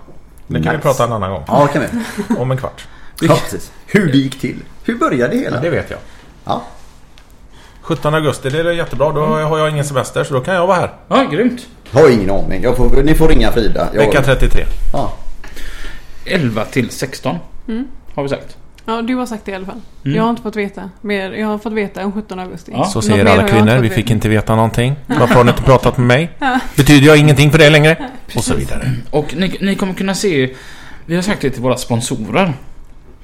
Det kan vi
Nice.
prata en annan gång.
Ja, det kan vi.
Om en kvart.
Ja, precis. Hur det gick till. Hur började det hela?
Det vet jag.
Ja.
17 augusti, det är jättebra. Då
Mm.
har jag ingen semester så då kan jag vara här.
Ja, grymt.
Har ingen aning. Jag får, ni får ringa Frida. Jag,
Vecka 33.
Ja.
11 till 16. Har vi sagt.
Ja, du har sagt det i alla fall. Jag har inte fått veta mer. Jag har fått veta den 17 augusti.
Ja.
Så
Något
säger
mer har
alla
jag
kvinnor.
fått
Vi
veta.
fick inte veta någonting. Varför har ni inte pratat med mig? Betyder jag ingenting för dig längre? Och så vidare.
Och ni, ni kommer kunna se, vi har sagt det till våra sponsorer.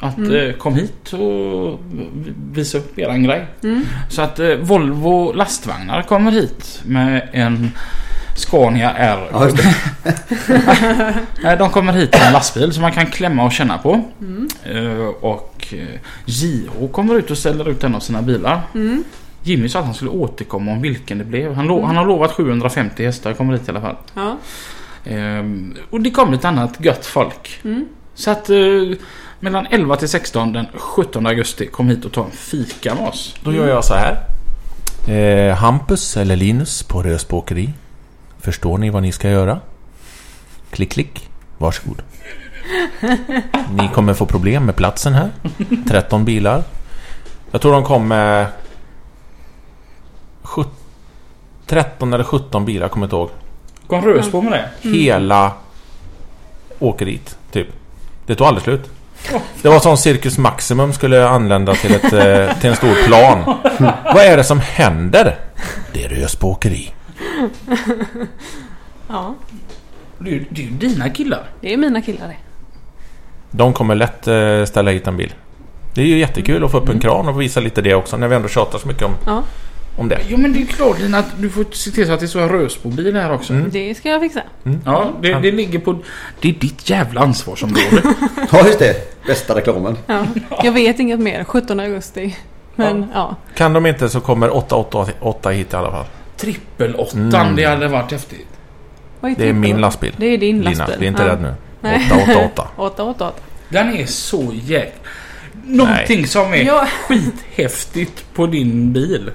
Att eh, kom hit och vi- visa upp eran grej. Så att eh, Volvo lastvagnar kommer hit med en Scania R.
Ja, just det.
Nej, Eh, de kommer hit i en lastbil som man kan klämma och känna på. Eh, och eh, JH kommer ut och ställer ut en av sina bilar. Jimmy sa att han skulle återkomma om vilken det blev. Han, lo- han har lovat 750 hästar kommer hit i alla fall.
Ja.
Ehm, och det kommer lite annat gött folk. Så att eh, mellan 11 till 16 den 17 augusti kom hit och ta en fika med oss.
Då gör jag så här. Eh, Hampus eller Linus på Rösbåkeri. Förstår ni vad ni ska göra? Klick, klick. Varsågod. Ni kommer få problem med platsen här. 13 bilar. Jag tror de kom med... sjut- 13 eller 17 bilar, jag kommer inte ihåg.
Kom Rösbo med det?
Mm.
Hela åkeriet, typ. Det tog aldrig slut. Det var som Cirkus Maximum skulle anlända till, ett, eh, till en stor plan. Vad är det som händer? Det är Rösbo åkeri.
ja,
Det är ju- det är ju dina killar.
det är mina killar det.
De kommer lätt eh, ställa hit en bil. Det är ju jättekul att få upp en kran och visa lite det också när vi ändå tjatar så mycket om
Mm. Ja.
om det.
Jo men det är klart Lina att du får se till så att det står en Rösbobil här också.
Mm.
Det ska jag fixa.
Ja, det, det ligger på... Det är ditt jävla ansvarsområde.
Ja just det, bästa reklamen.
Ja. Jag vet inget mer. 17 augusti. Men ja.
Kan de inte så kommer 888 hit i alla fall.
Trippelåttan, det hade varit häftigt.
Vad
Det är
trippel?
min lastbil.
Det är din
Lina,
lastbil.
vi är inte
ja.
rädd nu.
Nej.
888.
888.
Den är så jäkla... Någonting som är
Ja.
skithäftigt på din bil.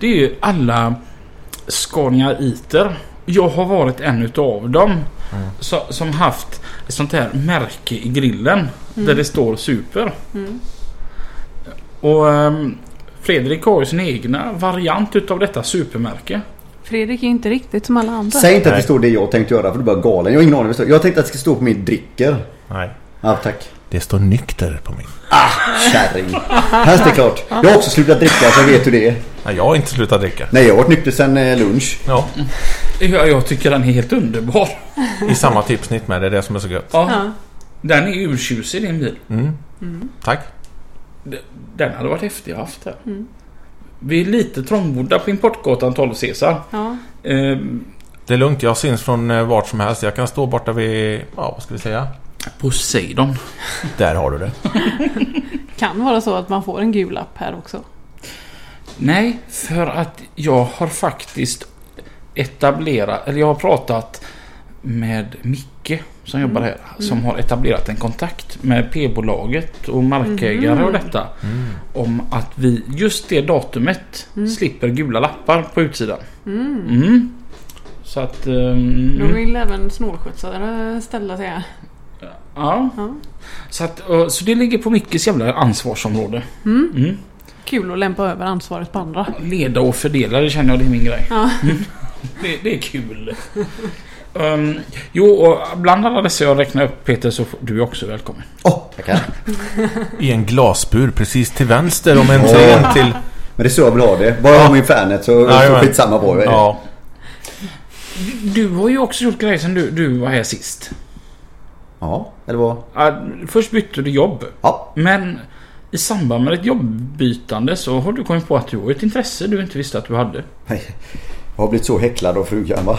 Det är ju alla Scania Iter. Jag har varit en utav dem. Så, som haft ett sånt här märke i grillen. Där det står Super. Och ehm, Fredrik har ju sin egna variant utav detta supermärke.
Fredrik är inte riktigt som alla andra.
Säg inte att det står det jag tänkte göra för du är bara galen. Jag har ingen aning. vad det står. Jag tänkte att det skulle stå på min dricker.
Nej.
Ja tack.
Det står nykter på min.
Kärring. Här står det klart. Jag har också slutat dricka så jag vet hur det är.
Nej, jag har inte slutat dricka.
Nej jag har varit nykter sedan eh, lunch.
Ja.
Jag, jag tycker den är helt underbar.
I samma tipsnitt med. Det är det som är så gött. Mm.
Ja.
Ja.
Den är urtjusig din bil.
Tack.
Den hade varit häftig att haft här. Vi är lite trångbodda på Importgatan 12 Cesar.
Ja.
Ehm,
Det är lugnt. Jag syns från eh, vart som helst. Jag kan stå borta vid... Ja, vad ska vi säga?
Poseidon.
Där har du det.
Kan vara så att man får en gul lapp här också.
Nej, för att jag har faktiskt etablerat, eller jag har pratat med Micke som jobbar
Mm.
här. Som har etablerat en kontakt med P-bolaget och markägare
Mm.
och detta. Om att vi just det datumet
Mm.
slipper gula lappar på utsidan. Mm. Så att... ehm,
Då vill även snålskjutsare ställa sig här.
Ja.
Ja.
Så, att, och- så det ligger på Mickes jävla ansvarsområde.
Kul att lämpa över ansvaret på andra.
Leda och fördela, det känner jag det är min grej.
Ja.
Mm. Det, det är kul. Ehm, jo, och bland alla dessa jag räknar upp Peter så får du är också välkommen.
Åh, oh, tackar.
I en glasbur precis till vänster om entrén till...
Men det är så jag vill ha det. Bara jag har min fanet så, så
Jajamän.
skitsamma på det.
Ja.
Du har ju också gjort grejer sen du, du var här sist.
ja, eller vad?
Ah, Först bytte du jobb.
Ja.
Men i samband med ditt jobbbytande så har du kommit på att du har ett intresse du inte visste att du hade.
Nej, Jag har blivit så häcklad av frugan va?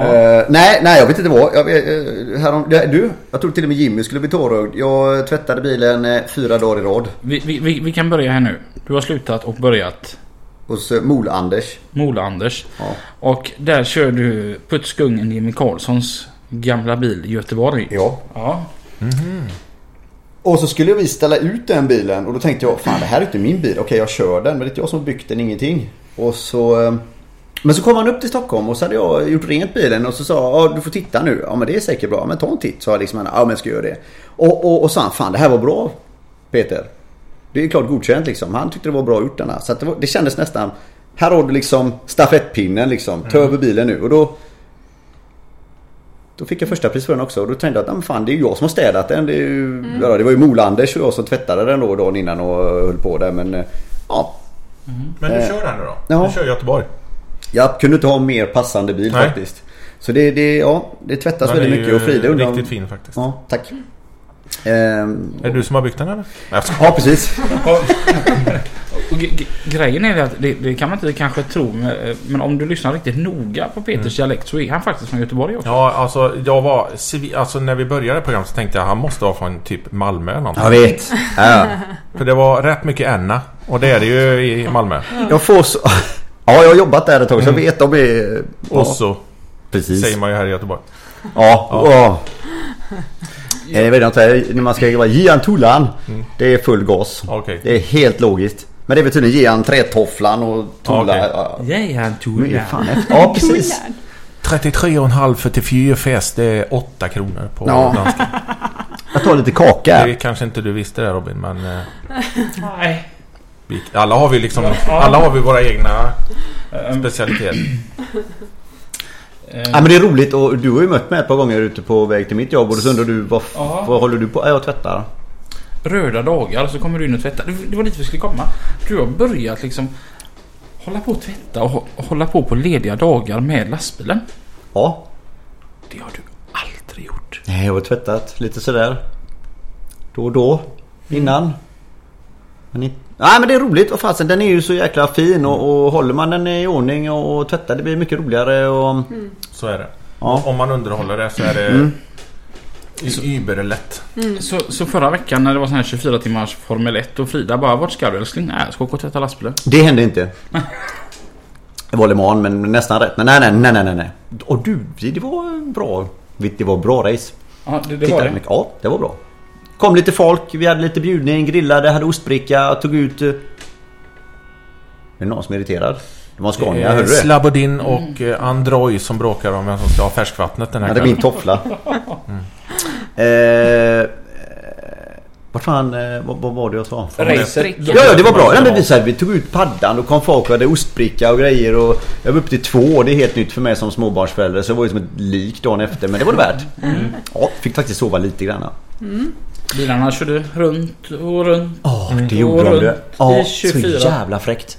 Eh, nej, nej jag vet inte vad. Jag, vet, eh, härom, det- du, jag tror till och med Jimmy skulle bli tårögd. Jag tvättade bilen eh, fyra dagar i rad.
Vi, vi, vi, vi kan börja här nu. Du har slutat och börjat
Hos eh, Mol-Anders.
Mola-Anders.
Ja.
Och där kör du putsgungen Jimmy Karlssons gamla bil i Göteborg.
ja.
Ja.
Och så skulle vi ställa ut den bilen och då tänkte jag fan det här är inte min bil. Okej jag kör den men det är inte jag som har byggt den ingenting. Och så eh, men så kom han upp till Stockholm och så hade jag gjort rent bilen och så sa ja du får titta nu. Ja men det är säkert bra. Men ta en titt sa jag liksom. Ja men jag ska göra det. Och, och, och så han fan det här var bra Peter. Det är klart godkänt liksom. Han tyckte det var bra gjort den här. Så att det, var, det kändes nästan. Här har du liksom stafettpinnen liksom. Ta över bilen nu. Och då då fick jag första pris för den också och då tänkte jag att "Ah, men fan, det är ju jag som har städat den. Det, är ju, ja, det var ju Molanders och jag som tvättade den då dagen innan och höll på där men eh, ja.
Men du kör den nu då?
ja.
Du kör Göteborg?
Jag kunde inte ha en mer passande bil
Nej.
faktiskt. Så det, det, ja, det tvättas
Den är
väldigt mycket och Frida undrar om-
riktigt fin faktiskt.
Ja, tack. Ehm,
Är det du som har byggt den eller? Nej, jag skojar.
ja precis.
Och, och ge- ge- grejen är att det, det kan man inte kanske tro men- eh, men om du lyssnar riktigt noga på Peters dialekt så är han faktiskt från Göteborg också.
Ja, alltså jag var... civi- Alltså när vi började programmet så tänkte jag han måste vara från typ Malmö eller någonting.
Jag vet. Ja.
För det var rätt mycket Enna. Och det är det ju i Malmö.
Jag får så... Ja, jag har jobbat där ett tag så jag vet de är...
Mm. Och så
precis.
säger man ju här i Göteborg.
Ja. ja. Eh, Jag vet inte, när man ska vara Gian Tullan.
Mm.
Det är full gas.
Okej.
Det är helt logiskt. Men det är väl tydligen Gian Trätofflan och Tulla.
Okej.
Ja,
Nej, han tog
men fan, efter- ja precis.
33,5 för till fyrfest. Det är 8 kronor på
Ja.
danska.
Jag tar lite
Det
kaka.
kanske inte du visste det Robin men... eh,
Nej.
vi- Alla har vi liksom... Alla har vi våra egna specialiteter.
Ja, men det är roligt och du har ju mött mig ett par gånger ute på väg till mitt jobb och då så undrar du vad, f-
Ja.
vad håller du på? Ja, jag tvättar.
Röda dagar så kommer du in och tvättar. Det det var dit vi skulle komma. Du har börjat liksom hålla på och tvätta och hå- hålla på på lediga dagar med lastbilen.
Ja.
Det har du aldrig gjort.
Nej, jag har tvättat lite sådär. Då och då. Innan. Men inte... Nej men det är roligt och fasen den är ju så jäkla fin och, och håller man den i ordning och, och tvättar det blir mycket roligare och...
Så är det.
Ja.
Om man underhåller det så är det mm. überlätt.
Så, så förra veckan när det var sån här 24 timmars Formel 1 och Frida bara Vart ska du älskling? Nej, jag ska åka och tvätta lastbilen.
Det hände inte. Det var Le Mans men nästan rätt. Men nej nej nej nej nej, nej. Och du, det var bra. Det var bra race.
Ja, det, det var
Tittade
det.
mycket. Ja, det var bra. Kom lite folk, vi hade lite bjudning, grillade, hade ostbricka, tog ut... eh, Är det någon som är irriterad? Det var en Scania, hörde du det?
Slabodin och eh, Android som bråkar om vem som ska ha färskvattnet den här
Ja, det är min
kvällen.
toffla. Eh, eh, vad fan, eh, vad, vad var det jag sa?
Racet.
Ja, ja det var bra. Ja, men vi, så här, vi tog ut paddan och kom folk och hade ostbricka och grejer och jag var uppe till två. Det är helt nytt för mig som småbarnsförälder så det var ju som ett lik dagen efter men det var det värt.
Mm.
Ja, fick faktiskt sova lite grann.
Bilarna körde runt och runt.
Ja, det
Mm.
gjorde de
Och
det.
runt
Ja,
i
så
24.
jävla fräckt.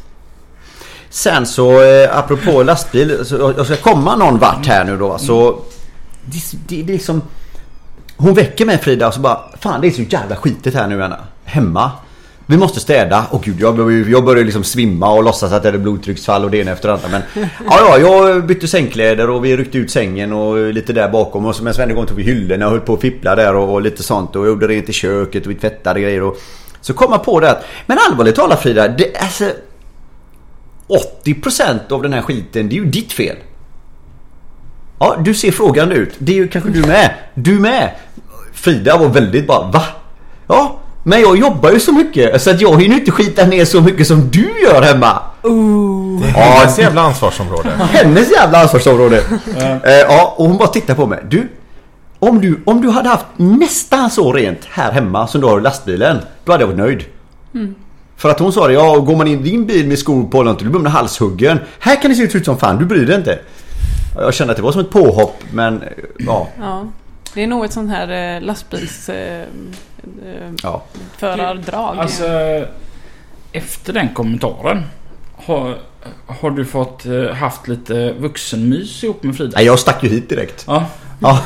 Sen så, eh, apropå lastbil, så jag- jag ska komma någon vart här nu då. Så,
Mm.
det, det, det är liksom... Hon väcker mig Frida och så bara Fan det är så jävla skitigt här nu Anna. Hemma. Vi måste städa. Och gud jag, började- jag började liksom svimma och låtsas att jag hade blodtrycksfall och det ena efter det andra. Men ja, ja, jag bytte sängkläder och vi ryckte ut sängen och lite där bakom. Och så, men så varje gång tog vi hyllorna och höll på och fippla där och, och lite sånt. Och jag gjorde rent i köket och vi tvättade grejer. Och, så kom jag på det att Men allvarligt talat Frida. Det, alltså, 80% av den här skiten det är ju ditt fel. Ja, du ser frågande ut. Det är ju kanske du med. Du med! Frida var väldigt bara va? Ja, men jag jobbar ju så mycket så att jag hinner inte skita ner så mycket som du gör hemma.
Ja,
Ja,
det är jävla ansvarsområde.
hennes jävla ansvarsområde. Eh, ja, och hon bara tittar på mig. Du, om du, om du hade haft nästan så rent här hemma som du har i lastbilen, då hade jag varit nöjd. För att hon sa det, ja och går man in i din bil med skor på eller något, då blir man halshuggen. Här kan det se ut som fan, du bryr dig inte. Jag kände att det var som ett påhopp men eh, ja.
Ja. Det är nog ett sånt här eh, lastbils... Eh, eh,
ja.
förardrag.
Alltså, efter den kommentaren. Har, har du fått eh, haft lite vuxenmys ihop med Frida?
Nej, jag stack ju hit direkt.
Ja.
Ja,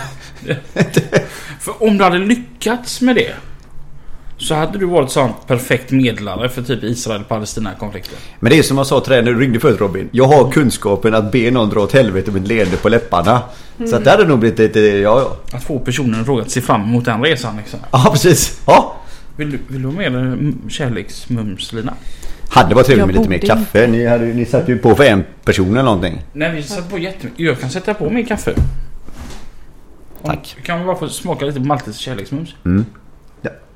För om du hade lyckats med det. Så hade du varit sånt perfekt medlare för typ Israel-Palestina-konflikten.
men det är som jag sa till dig när du ringde förut Robin. Jag har kunskapen att be någon dra åt helvete med ett leende på läpparna. Så att det hade nog blivit lite, ja ja.
Att få personen frågat sig fram emot den resan liksom.
Ja precis. Ja.
Vill du, vill du ha med dig mm, kärleksmums Lina?
Hade varit trevligt
Jag
med lite mer
borde
kaffe. Ni, hade, ni satt ju på för en person eller någonting.
Nej vi sätter på jättemycket. Jag kan sätta på min kaffe. Om-
Tack.
Kan vi bara få smaka lite på Maltes kärleksmums?
Ja.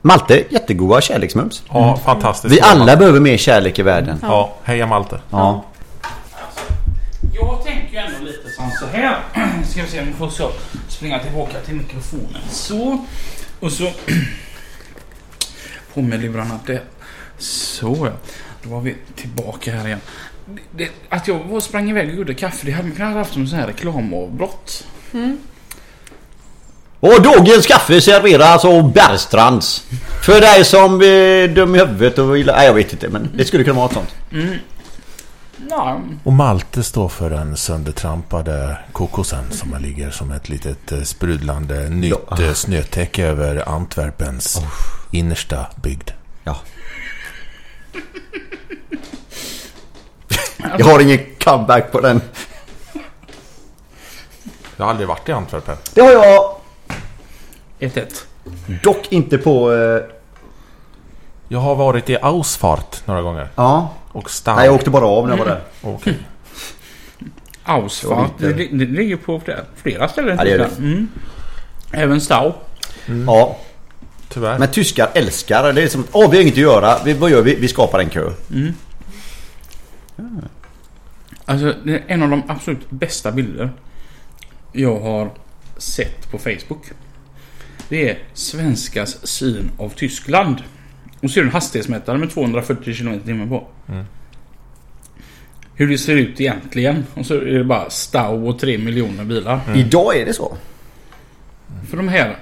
Malte, jättegoda kärleksmums.
Ja, fantastiskt.
Vi alla behöver mer kärlek i världen.
Ja, heja Malte.
Ja.
Jag tänker ju ändå lite som så här. Ska vi se om vi får så springa tillbaka till mikrofonen. Så. Och så. På med lurarna där. Så ja. Då var vi tillbaka här igen. Det, det, att jag var- sprang iväg och gjorde kaffe det hade man kunnat haft som en sån här reklamavbrott.
Och dagens kaffe serveras av Bergstrands. För dig som är dum i huvudet och gillar... Nej jag vet inte men det skulle kunna vara ett sånt.
Nej.
Och Malte står för den söndertrampade kokosen som här ligger som ett litet eh, sprudlande nytt ja. snötäcke över Antwerpens innersta bygd.
Ja. Jag har ingen comeback på den.
Jag har aldrig varit i Antwerpen.
Det har jag
1-1.
dock inte på... eh,
Jag har varit i Ausfart några gånger.
ja.
Och Stau.
Nej jag åkte bara av när jag var där.
Okej.
Ausfahrt. Det, det ligger på flera, flera ställen.
Ja, det gör det.
Mm. Även Stau.
Ja.
Tyvärr.
Men tyskar älskar det. Det är som att åh vi har inget att göra. Vi, vad gör vi? Vi skapar en kö.
Alltså, det är en av de absolut bästa bilder jag har sett på Facebook. Det är svenskars syn av Tyskland. Och ser du en hastighetsmätare med 240 km h på. Hur det ser ut egentligen. Och så är det bara Stau och 3 miljoner bilar.
Mm. Idag är det så.
För de här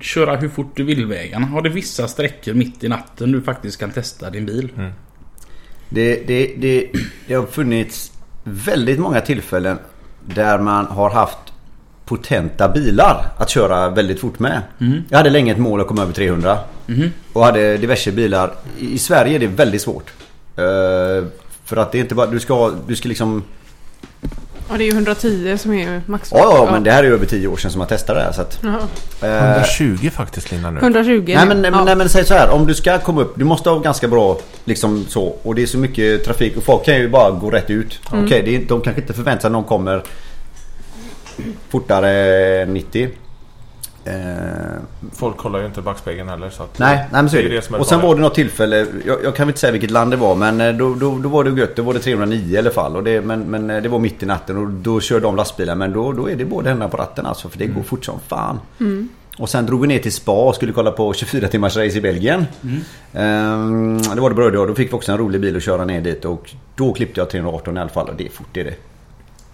köra hur fort du vill vägarna har det vissa sträckor mitt i natten du faktiskt kan testa din bil.
Det, det, det, det har funnits väldigt många tillfällen där man har haft potenta bilar att köra väldigt fort med. Jag hade länge ett mål att komma över 300. Och hade diverse bilar. I i Sverige är det väldigt svårt. Eh, för att det är inte bara... Du ska, du ska liksom...
Ja, det är ju 110 som är max.
Ja, ja, men det här är ju över 10 år sedan som jag testade det här. Så att,
Ja.
eh,
120 faktiskt Linda nu.
120.
Nej men,
ja.
nej men säg så här, om du ska komma upp, du måste ha ganska bra liksom så. Och det är så mycket trafik och folk kan ju bara gå rätt ut. Okej, det är- de kanske inte förväntar sig att någon kommer fortare än 90. Eh,
Folk kollar ju inte i backspegeln heller så att...
nej, nej men så är
ju
det.
som
och sen
farligt.
var det något tillfälle, jag, jag kan inte säga vilket land det var men eh, då, då, då var det gött. Då var det 309 i alla fall. Och det, men, men eh, det var mitt i natten och då körde de lastbilen. Men då, då är det båda händerna på ratten alltså för det går fort som fan. Och sen drog vi ner till spa och skulle kolla på 24 timmars race i Belgien. Ehm, det var det bröd och då fick vi också en rolig bil att köra ner dit och då klippte jag 318 i alla fall och det är fort det är det.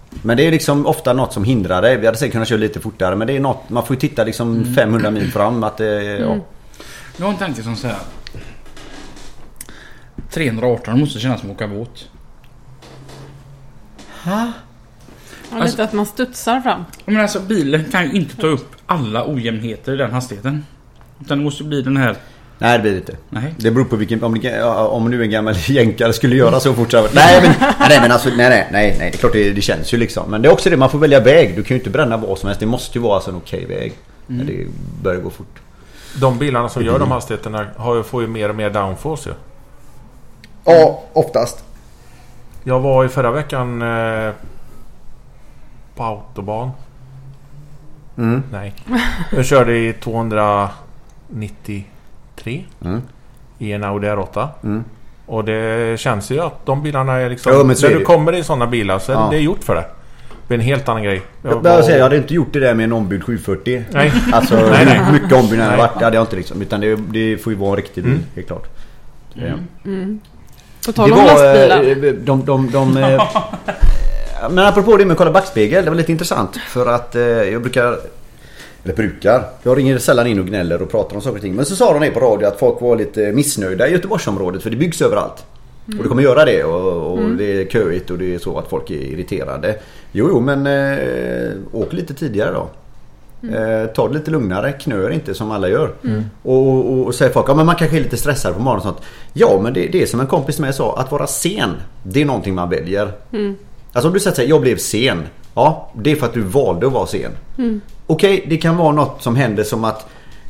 Men det är liksom ofta något som hindrar dig. Vi hade säkert kunnat köra lite fortare men det är något, man får ju titta liksom 500 mil fram att det, ja.
Jag har en tanke som säger 318 måste kännas som att åka båt.
Ja,
alltså-
lite att man studsar fram.
Men alltså bilen kan ju inte ta upp alla ojämnheter i den hastigheten. Utan det måste bli den här...
Nej det blir det inte.
Nej.
Det beror på vilken, om, det- ja, om nu en gammal jänkare skulle göra så fort så- Nej men, nej men alltså, nej nej nej, nej det är klart det, det känns ju liksom. Men det är också det, man får välja väg. Du kan ju inte bränna vad som helst. Det måste ju vara alltså en okej väg. När det börjar gå fort.
De bilarna som
Mm.
gör de hastigheterna har, ju- får ju mer och mer downforce ju.
Ja, oftast.
Jag var i förra veckan eh, på autobahn.
Mm.
Nej. Jag körde i 293
Mm.
i en Audi R8.
Mm.
Och det känns ju att de bilarna är liksom...
Ja, men så
när
är
du
det ju.
kommer i sådana bilar så är
Ja.
det gjort för det. Det är en helt annan grej.
Jag, bara säga, jag hade inte gjort det där med en ombyggd 740.
Nej.
Alltså
Nej, nej.
hur mycket ombyggnad det hade
Nej.
varit. Det hade jag inte liksom. Utan det, det får ju vara en riktig bil,
Mm.
helt klart. Mm.
På tal om lastbilar.
eh, de, de, de, eh, Men apropå det med att kolla backspegel, det var lite intressant. För att eh, jag brukar... Eller brukar? Jag ringer sällan in och gnäller och pratar om saker och ting. Men så sa de det på radio att folk var lite missnöjda i Göteborgsområdet för det byggs överallt. Och det kommer göra det och, och
Mm.
det är köigt och det är så att folk är irriterade. Jo, jo men eh, åk lite tidigare då. Eh, ta det lite lugnare, knör inte som alla gör. Och, och, och säger folk, ja men man kanske är lite stressad på morgonen och sånt. Ja men det, det är som en kompis med sa, att vara sen det är någonting man väljer. Alltså om du säger så här, jag blev sen. Ja, det är för att du valde att vara sen. Okej, det kan vara något som händer som att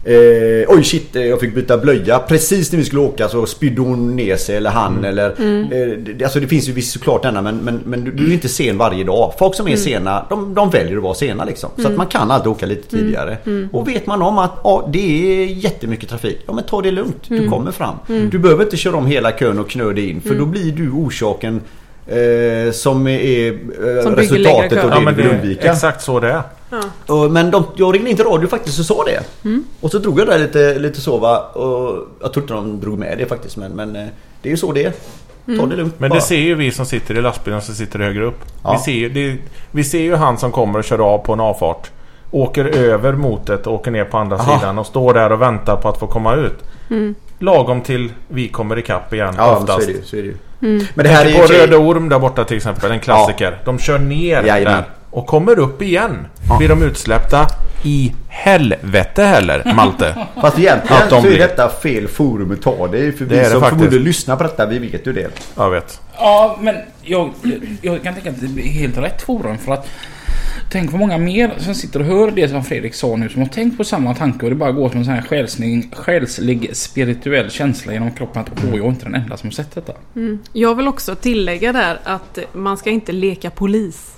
Eh, oj shit, eh, jag fick byta blöja. Precis när vi skulle åka så spydde hon ner sig eller han
Mm.
eller... Eh, det, alltså det finns ju visst såklart denna men, men, men du, du är inte sen varje dag. Folk som är
Mm.
sena, de, de väljer att vara sena liksom. Så att man kan alltid åka lite
Mm.
tidigare. Och vet man om att ja, det är jättemycket trafik. Ja men ta det lugnt,
Mm.
du kommer fram. Du behöver inte köra om hela kön och knö dig in för då blir du orsaken eh, som är eh,
Som bygger längre
resultatet
kön.
av det
Ja,
du
men
vill
det
undvika.
är exakt så det är.
Och- Men de, jag ringde in till radio faktiskt och sa det.
Mm.
Och så drog jag där lite, lite så va. Och jag tror inte de drog med det faktiskt men, men eh, det är ju så det är.
Mm.
Ta det lugnt
Men
bara.
det ser ju vi som sitter i lastbilen som sitter högre upp.
Ja.
Vi, ser ju, det, vi ser ju han som kommer och kör av på en avfart. Åker över motet och åker ner på andra
Aha.
sidan och står där och väntar på att få komma ut. Lagom till vi kommer ikapp igen
Ja men så är
oftast.
det ju. Så är det ju.
Mm.
Men det här är ju...
På Röda Orm där borta till exempel, en klassiker. De kör ner
Jajamän.
där och kommer upp igen. Blir de utsläppta i helvete heller, Malte.
Fast egentligen
Att de
så är
blir-
detta fel forum att ta det är ju För
är
vi
det
som
faktiskt.
förmodligen lyssnar på detta vi vet ju det.
Jag vet.
Ja, men jag, jag kan tänka att det är helt rätt forum för att Tänk vad många mer som sitter och hör det som Fredrik sa nu som har tänkt på samma tanke och det bara går som en sån här själslig, själslig spirituell känsla genom kroppen att åh, jag är inte den enda som har sett detta.
Jag vill också tillägga där att man ska inte leka polis.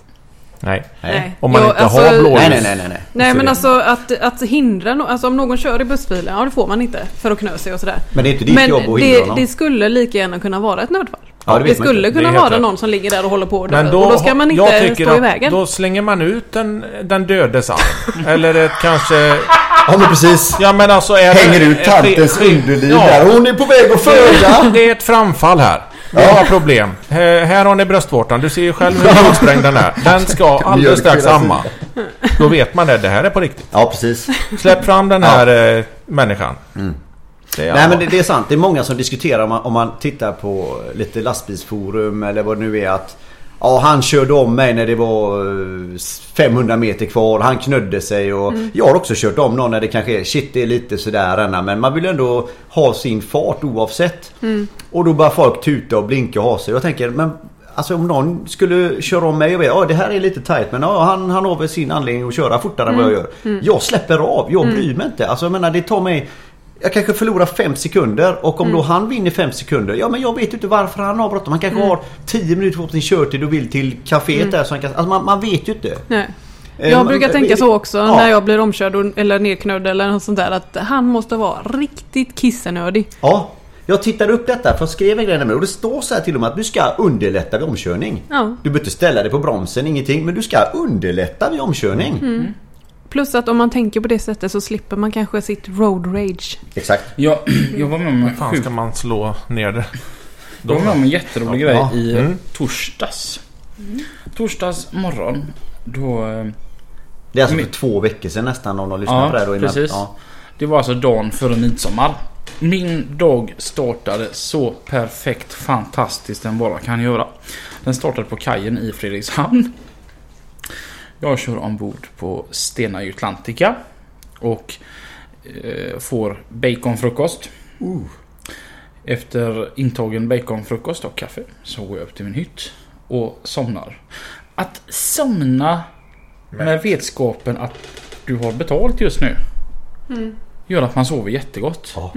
Nej.
Nej.
Om man
Jag-
inte
alltså-
har blåljus.
Nej nej nej nej. nej.
Nej
Så
men
det-
alltså att, att hindra no- alltså om någon kör i bussfilen, ja det får man inte för att knö sig och sådär.
Men det är inte ditt
men
jobb att hindra
det,
honom.
det skulle lika gärna kunna vara ett nödfall.
Ja, det
det,
vet man
skulle
inte.
Det är
kunna
helt
vara
rätt.
någon som ligger där och håller på och
Men
dör.
då,
och då ska man
jag
inte
tycker
stå i
att
vägen.
Då slänger man ut den, den dödes arm. Eller ett, kanske...
Ja men precis.
Ja men alltså... Är det-
Hänger ut
är det-
tantens underliv
Ja.
där. Hon är på väg att föda.
Det är ett framfall här. Vi
Ja.
har problem. Här, här har ni bröstvårtan. Du ser ju själv hur blodsprängd den är. Den ska alldeles strax amma. Då vet man det. Det här är på riktigt.
Ja precis.
Släpp fram den här eh, människan. Det är
Nej
alla.
men det, det är sant. Det är många som diskuterar om man, om man tittar på lite lastbilsforum eller vad det nu är att Ja Ja, han körde om mig när det var eh, 500 meter kvar. Han knödde sig och jag har också kört om någon när det kanske är shit det är lite sådär Anna, men man vill ändå ha sin fart oavsett. Och då börjar folk tuta och blinka och ha sig. Jag tänker men alltså om någon skulle köra om mig och ja det här är lite tight men ja, han, han har väl sin anledning att köra fortare än vad jag gör. Jag släpper av, jag bryr mig inte. Alltså jag menar det tar mig jag kanske förlorar 5 sekunder och om då
Mm.
han vinner 5 sekunder. Ja men jag vet ju inte varför han har bråttom. Han kanske
Mm.
har 10 minuter på sin körtid och vill till kaféet där. Så han kan, alltså man, man vet ju inte.
Nej.
Eh,
Jag
men-
brukar tänka så också
Ja.
när jag blir omkörd och- eller nedknödd eller något sånt där att han måste vara riktigt kissenödig.
Ja. Jag tittade upp detta för jag skrev en grej nämligen och det står så här till och med att du ska underlätta vid omkörning.
Ja.
Du behöver inte ställa dig på bromsen, ingenting. Men du ska underlätta vid omkörning.
Mm. Plus att om man tänker på det sättet så slipper man kanske sitt road rage.
Exakt.
Jag, jag var med om en
fan
sjuk
ska man slå ner det?
Då var jag med om en jätterolig grej
Ja.
i
Mm.
torsdags. Torsdags morgon. Då, eh,
Det är alltså
Men-
för två veckor sedan nästan om de lyssnar
Mm. Ja,
på det här då innan.
precis.
Ja.
det var alltså dagen före midsommar. Min dag startade så perfekt fantastiskt den bara kan göra. Den startade på kajen i Fredrikshamn. Jag kör ombord på Stena Atlantica och eh, får baconfrukost. Efter intagen baconfrukost och kaffe så går jag upp till min hytt och somnar. Att somna med vetskapen att du har betalt just nu gör att man sover jättegott.
Ja.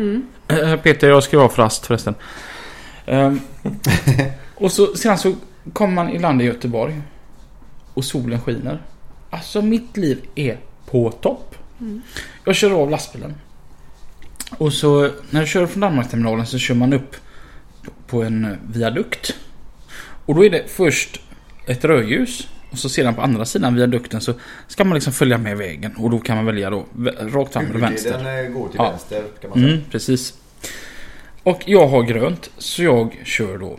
Eh, Peter, jag skrev av för rast förresten. Ehm, och så, sen så kommer man i land i Göteborg och solen skiner. Alltså mitt liv är på topp. Jag kör av lastbilen. Och så när jag kör från Danmarksterminalen så kör man upp på en eh, viadukt. Och då är det först ett rödljus och så sedan på andra sidan viadukten så ska man liksom följa med vägen och då kan man välja då vä- rakt fram eller vänster.
eh, går till
Ja.
vänster kan man
Mm, precis. Och jag har grönt, så jag kör då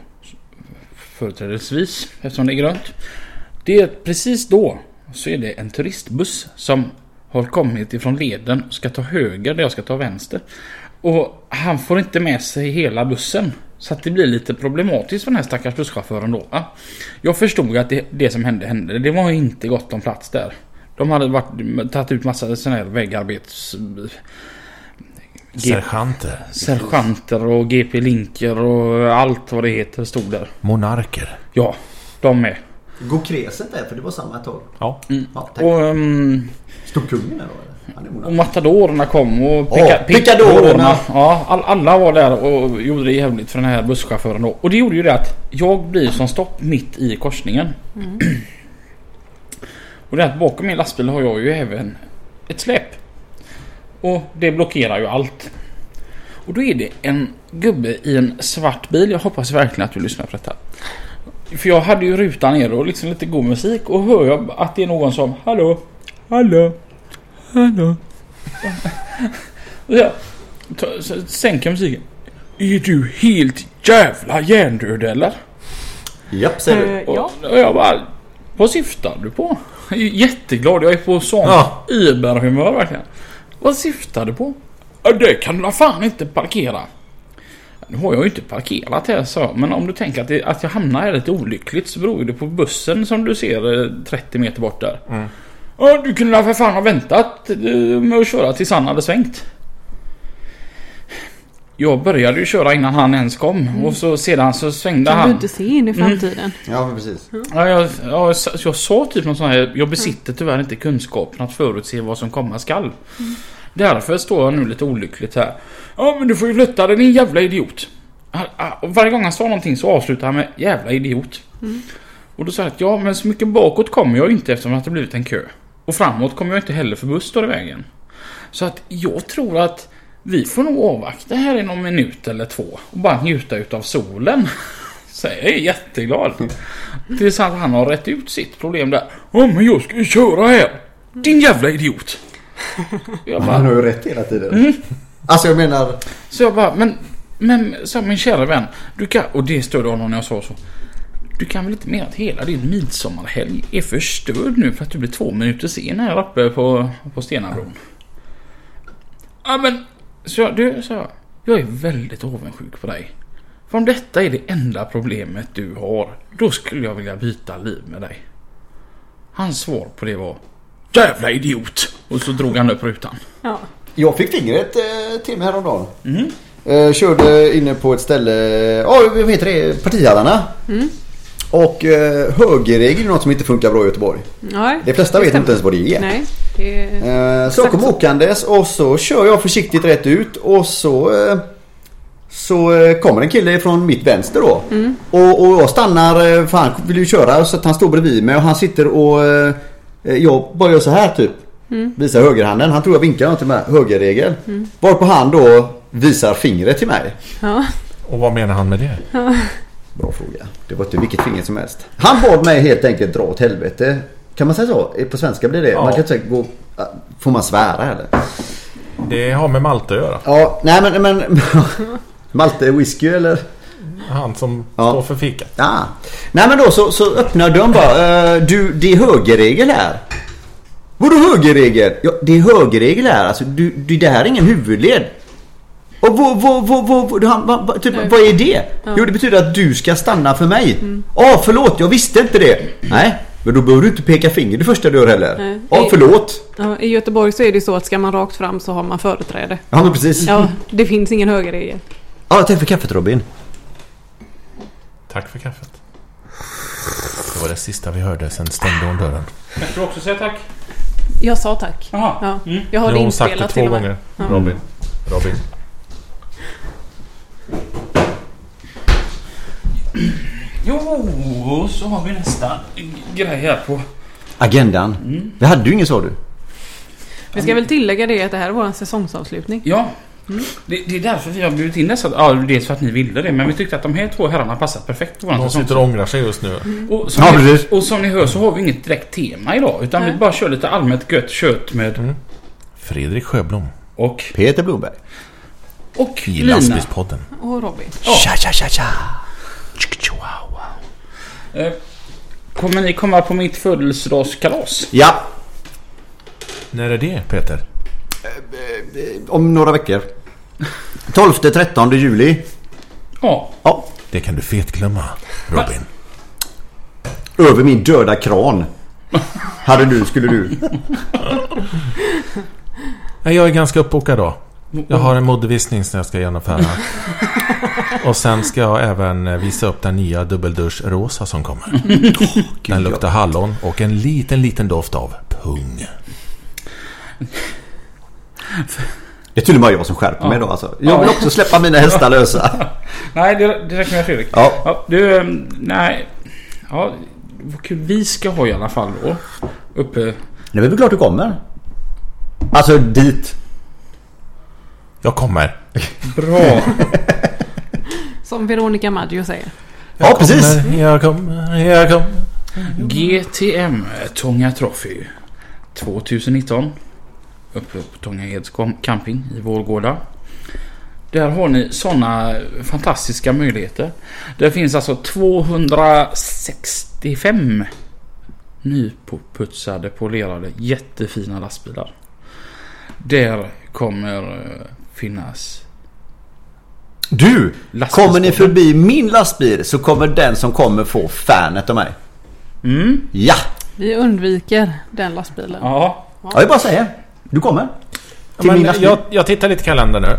företrädesvis eftersom det är grönt. Det är precis då så är det en turistbuss som har kommit ifrån leden och ska ta höger där jag ska ta vänster. Och han får inte med sig hela bussen. Så att det blir lite problematiskt för den här stackars busschauffören då. va? Jag förstod att det, det som hände hände. Det var inte gott om plats där. De hade varit, tagit ut massa sådana här vägarbets... G-
Sergeanter.
sergeanter och GP-linker och allt vad det heter stod där.
Monarker.
Ja, de med.
säga. Går Kreset där? För det var samma tag.
Ja.
Ja, tack.
Och, um,
Stod kungen där då eller? Han är
och
monark.
matadorerna kom och
Ja, picadorerna.
Ja, all, alla var där och gjorde det jävligt för den här busschauffören då. Och det gjorde ju det att jag blir som stopp mitt i korsningen.
Mm.
och det är att bakom min lastbil har jag ju även ett släp. Och det blockerar ju allt. Och då är det en gubbe i en svart bil. Jag hoppas verkligen att du lyssnar på detta. För jag hade ju rutan ner och liksom lite god musik och hör jag att det är någon som Hallå? Hallå? Hallå? och jag tar- så sänker musiken. Är du helt jävla hjärndöd eller?
Japp säger du.
Eh, ja.
Och, och jag bara... Vad syftar du på? Jag är jätteglad. Jag är på sånt
Ja.
überhumör verkligen. Vad syftar du på? "Ja, Det kan du fan inte parkera. Nu har jag ju inte parkerat här så jag, men om du tänker att, det, att jag hamnar här lite olyckligt så beror ju det på bussen som du ser eh, 30 meter bort där.
Mm.
Ja, du kunde för fan ha väntat eh, med att köra tills han hade svängt. Jag började ju köra innan han ens kom och så sedan så svängde
Kan
han.
du inte se in i framtiden?
Ja men precis.
Mm.
Ja, jag, ja, jag, sa- jag sa typ någon sån här, jag besitter tyvärr inte kunskapen att förutse vad som komma skall. Därför står jag nu lite olyckligt här. Ja men du får ju lutta dig din jävla idiot. Han- han- och Varje gång han sa någonting så avslutade han med jävla idiot. Och då sa jag att ja men så mycket bakåt kommer jag ju inte eftersom att det blivit en kö. Och framåt kommer jag inte heller för buss står i vägen. Så att jag tror att vi får nog avvakta här i någon minut eller två och bara njuta utav solen. Så jag är jätteglad. Tills att han har rätt ut sitt problem där. Ja men jag ska ju köra här. Din jävla idiot. Jag bara,
Han har ju rätt hela tiden.
Mm.
Alltså jag menar...
så jag bara, men, men så här, min kära vän. Du kan, och det störde honom när jag sa så. Du kan väl inte mena att hela din midsommarhelg är förstörd nu för att du blir två minuter sen här uppe på, på Stenabron? Ja men, så jag, du, så jag, jag är väldigt avundsjuk på dig. För om detta är det enda problemet du har, då skulle jag vilja byta liv med dig. Hans svar på det var Jävla idiot! Och så drog han upp rutan.
Ja.
Jag fick fingret eh, till mig häromdagen.
Mm.
Eh, körde inne på ett ställe, ja vad heter det, Partihallarna.
Mm.
Och eh, högerregeln är något som inte funkar bra i Göteborg.
Nej,
De flesta
det
vet inte
stämmer.
ens vad det är.
Nej, det är...
Eh, så jag kom
Exakt så.
åkandes och så kör jag försiktigt rätt ut och så eh, så eh, kommer en kille från mitt vänster då. Och, och jag stannar eh, för han vill ju köra så att han står bredvid mig och han sitter och eh, jag bara gör så här typ. Visar högerhanden. Han tror jag vinkar till mig. Högerregel. Varpå han då visar fingret till mig.
Ja.
Och vad menar han med det?
Bra fråga. Det var inte vilket finger som helst. Han bad mig helt enkelt dra åt helvete. Kan man säga så? På svenska blir det. Man kan inte säga gå... Får man svära eller?
Det har med Malte att göra.
Ja, nej men... men Malte whisky eller?
Han som
Ja.
står för fika.
Ja. Nej men då så, så öppnar dörren bara. Eh, du, det är högerregel här. Vadå högerregel? Ja, det är högerregel här. Alltså, du, du, det här är ingen huvudled. Och vad, vad, vad, vad, vad, han- vad, vad- typ,
Nej. Mm.
vad är det? Jo, det betyder att du ska stanna för mig. Ja, förlåt, jag visste inte det. Nej, men då behöver du inte peka finger det första du gör heller.
Nej.
Ja, förlåt.
Ja, I Göteborg så är det så att ska man rakt fram så har man företräde.
Ja, men precis. Ja,
Ja, det finns ingen högerregel.
tack för kaffet Robin.
Tack för kaffet.
Det var det sista vi hörde, sen stängde hon dörren.
Jag skulle också säga tack.
Jag sa tack.
Aha.
Ja, jag har det
hon sagt det
inspelat
två
till och med.
gånger.
Ja.
Robin. Robin.
Jo, så har vi nästa grej här på...
Agendan.
Mm.
Det hade du ingen sa du.
Vi ska väl tillägga det att det här var en säsongsavslutning.
Ja. Det, det är därför vi har bjudit in dessa. Ja, dels för att ni ville det, men vi tyckte att de här två herrarna passat perfekt på våran
De
säsong.
sitter och ångrar sig just nu.
Mm.
Och som,
Ja,
ni,
precis.
och som ni hör så har vi inget direkt tema idag, utan vi
Nej.
bara kör lite allmänt gött kött med...
Mm.
Fredrik Sjöblom
Och...
Peter Blomberg.
Och
i
Lina.
Lastbilspodden.
Och Robin.
Tja, tja, tja, tja.
Eh, Kommer ni komma på mitt födelsedagskalas?
Ja,
När är det?
Peter.
om några veckor. 12-13 juli.
Ja.
Ja,
Det kan du fetglömma, Robin.
över min döda kran. Hade du, skulle du.
Nej, Jag är ganska uppbokad då. Jag har en modevisning som jag ska genomföra. Och sen ska jag även eh, visa upp den nya dubbeldusch rosa som kommer. Den luktar hallon
Och en liten, liten doft av pung.
Det är till och med jag som skärper mig då alltså. Jag vill
Ja.
också släppa mina hästar lösa.
Nej, det, det räcker med Fredrik.
Ja.
du, eh, nej. Ja, vad kul vi ska ha i alla fall då. Uppe...
Nej men det är väl klart du kommer. Alltså dit.
Jag kommer.
Bra.
Som Veronica Maggio säger.
Ja precis.
Kommer, jag kommer, jag kommer.
GTM Tånga Trophy 2019 Uppe på Tånga Eds camping i Vårgårda. Där har ni sådana fantastiska möjligheter. Det finns alltså 265 nyputsade, polerade, jättefina lastbilar. Där kommer eh, finnas
Du!
Lastbilspodden.
Kommer ni förbi min lastbil så kommer den som kommer få fanet av mig.
Mm.
Ja!
Vi undviker den lastbilen.
Ja,
Ja, jag bara säger. Du kommer. Till min
Men
lastbil.
jag, jag tittar lite i kalendern nu.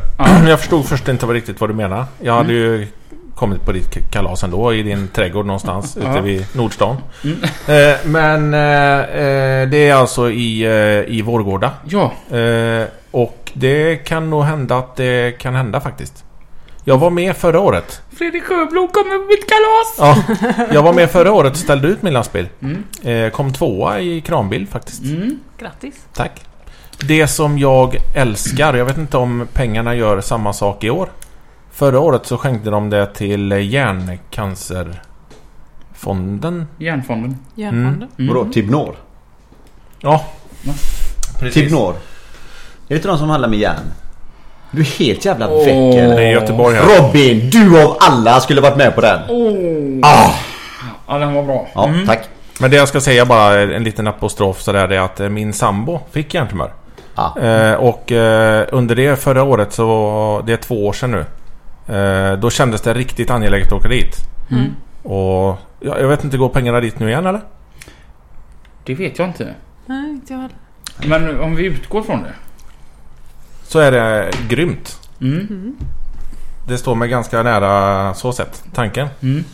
Jag förstod först inte vad riktigt vad du menar. Jag hade
Mm.
ju kommit på ditt k- kalas ändå i din trädgård någonstans ute vid Nordstan.
Mm.
Eh, men eh, eh, det är alltså i, eh, i Vårgårda.
ja,
Eh, och det kan nog hända att det kan hända faktiskt. Jag var med förra året.
Fredrik Sjöblom kommer på mitt kalas!
Ja, jag var med förra året och ställde ut min lastbil.
Mm.
Eh, kom tvåa i kranbil faktiskt.
Grattis.
Tack. Det som jag älskar, jag vet inte om pengarna gör samma sak i år. Förra året så skänkte de det till Hjärncancerfonden.
Järnfonden.
Järnfonden.
Vadå? typ Tibnor?
Ja,
Tibnor? Typ Är det inte de som handlar med järn? Du är helt jävla väck
Åh.
eller?
det är Göteborg här.
Robin, du av alla skulle varit med på den. Ah.
Ja, den var bra.
Ja,
Mm.
tack.
Men det jag ska säga bara, en liten apostrof sådär, det är att eh, min sambo fick hjärntumör.
Ja.
Eh, och eh, under det förra året så, det är två år sedan nu. Eh, då kändes det riktigt angeläget att åka dit.
Mm.
Och ja, jag vet inte, går pengarna dit nu igen eller?
Det vet jag inte.
Nej, inte jag heller.
Men om vi utgår från det.
Så är det grymt.
Mm.
Det står mig ganska nära så sett, tanken.
Mm.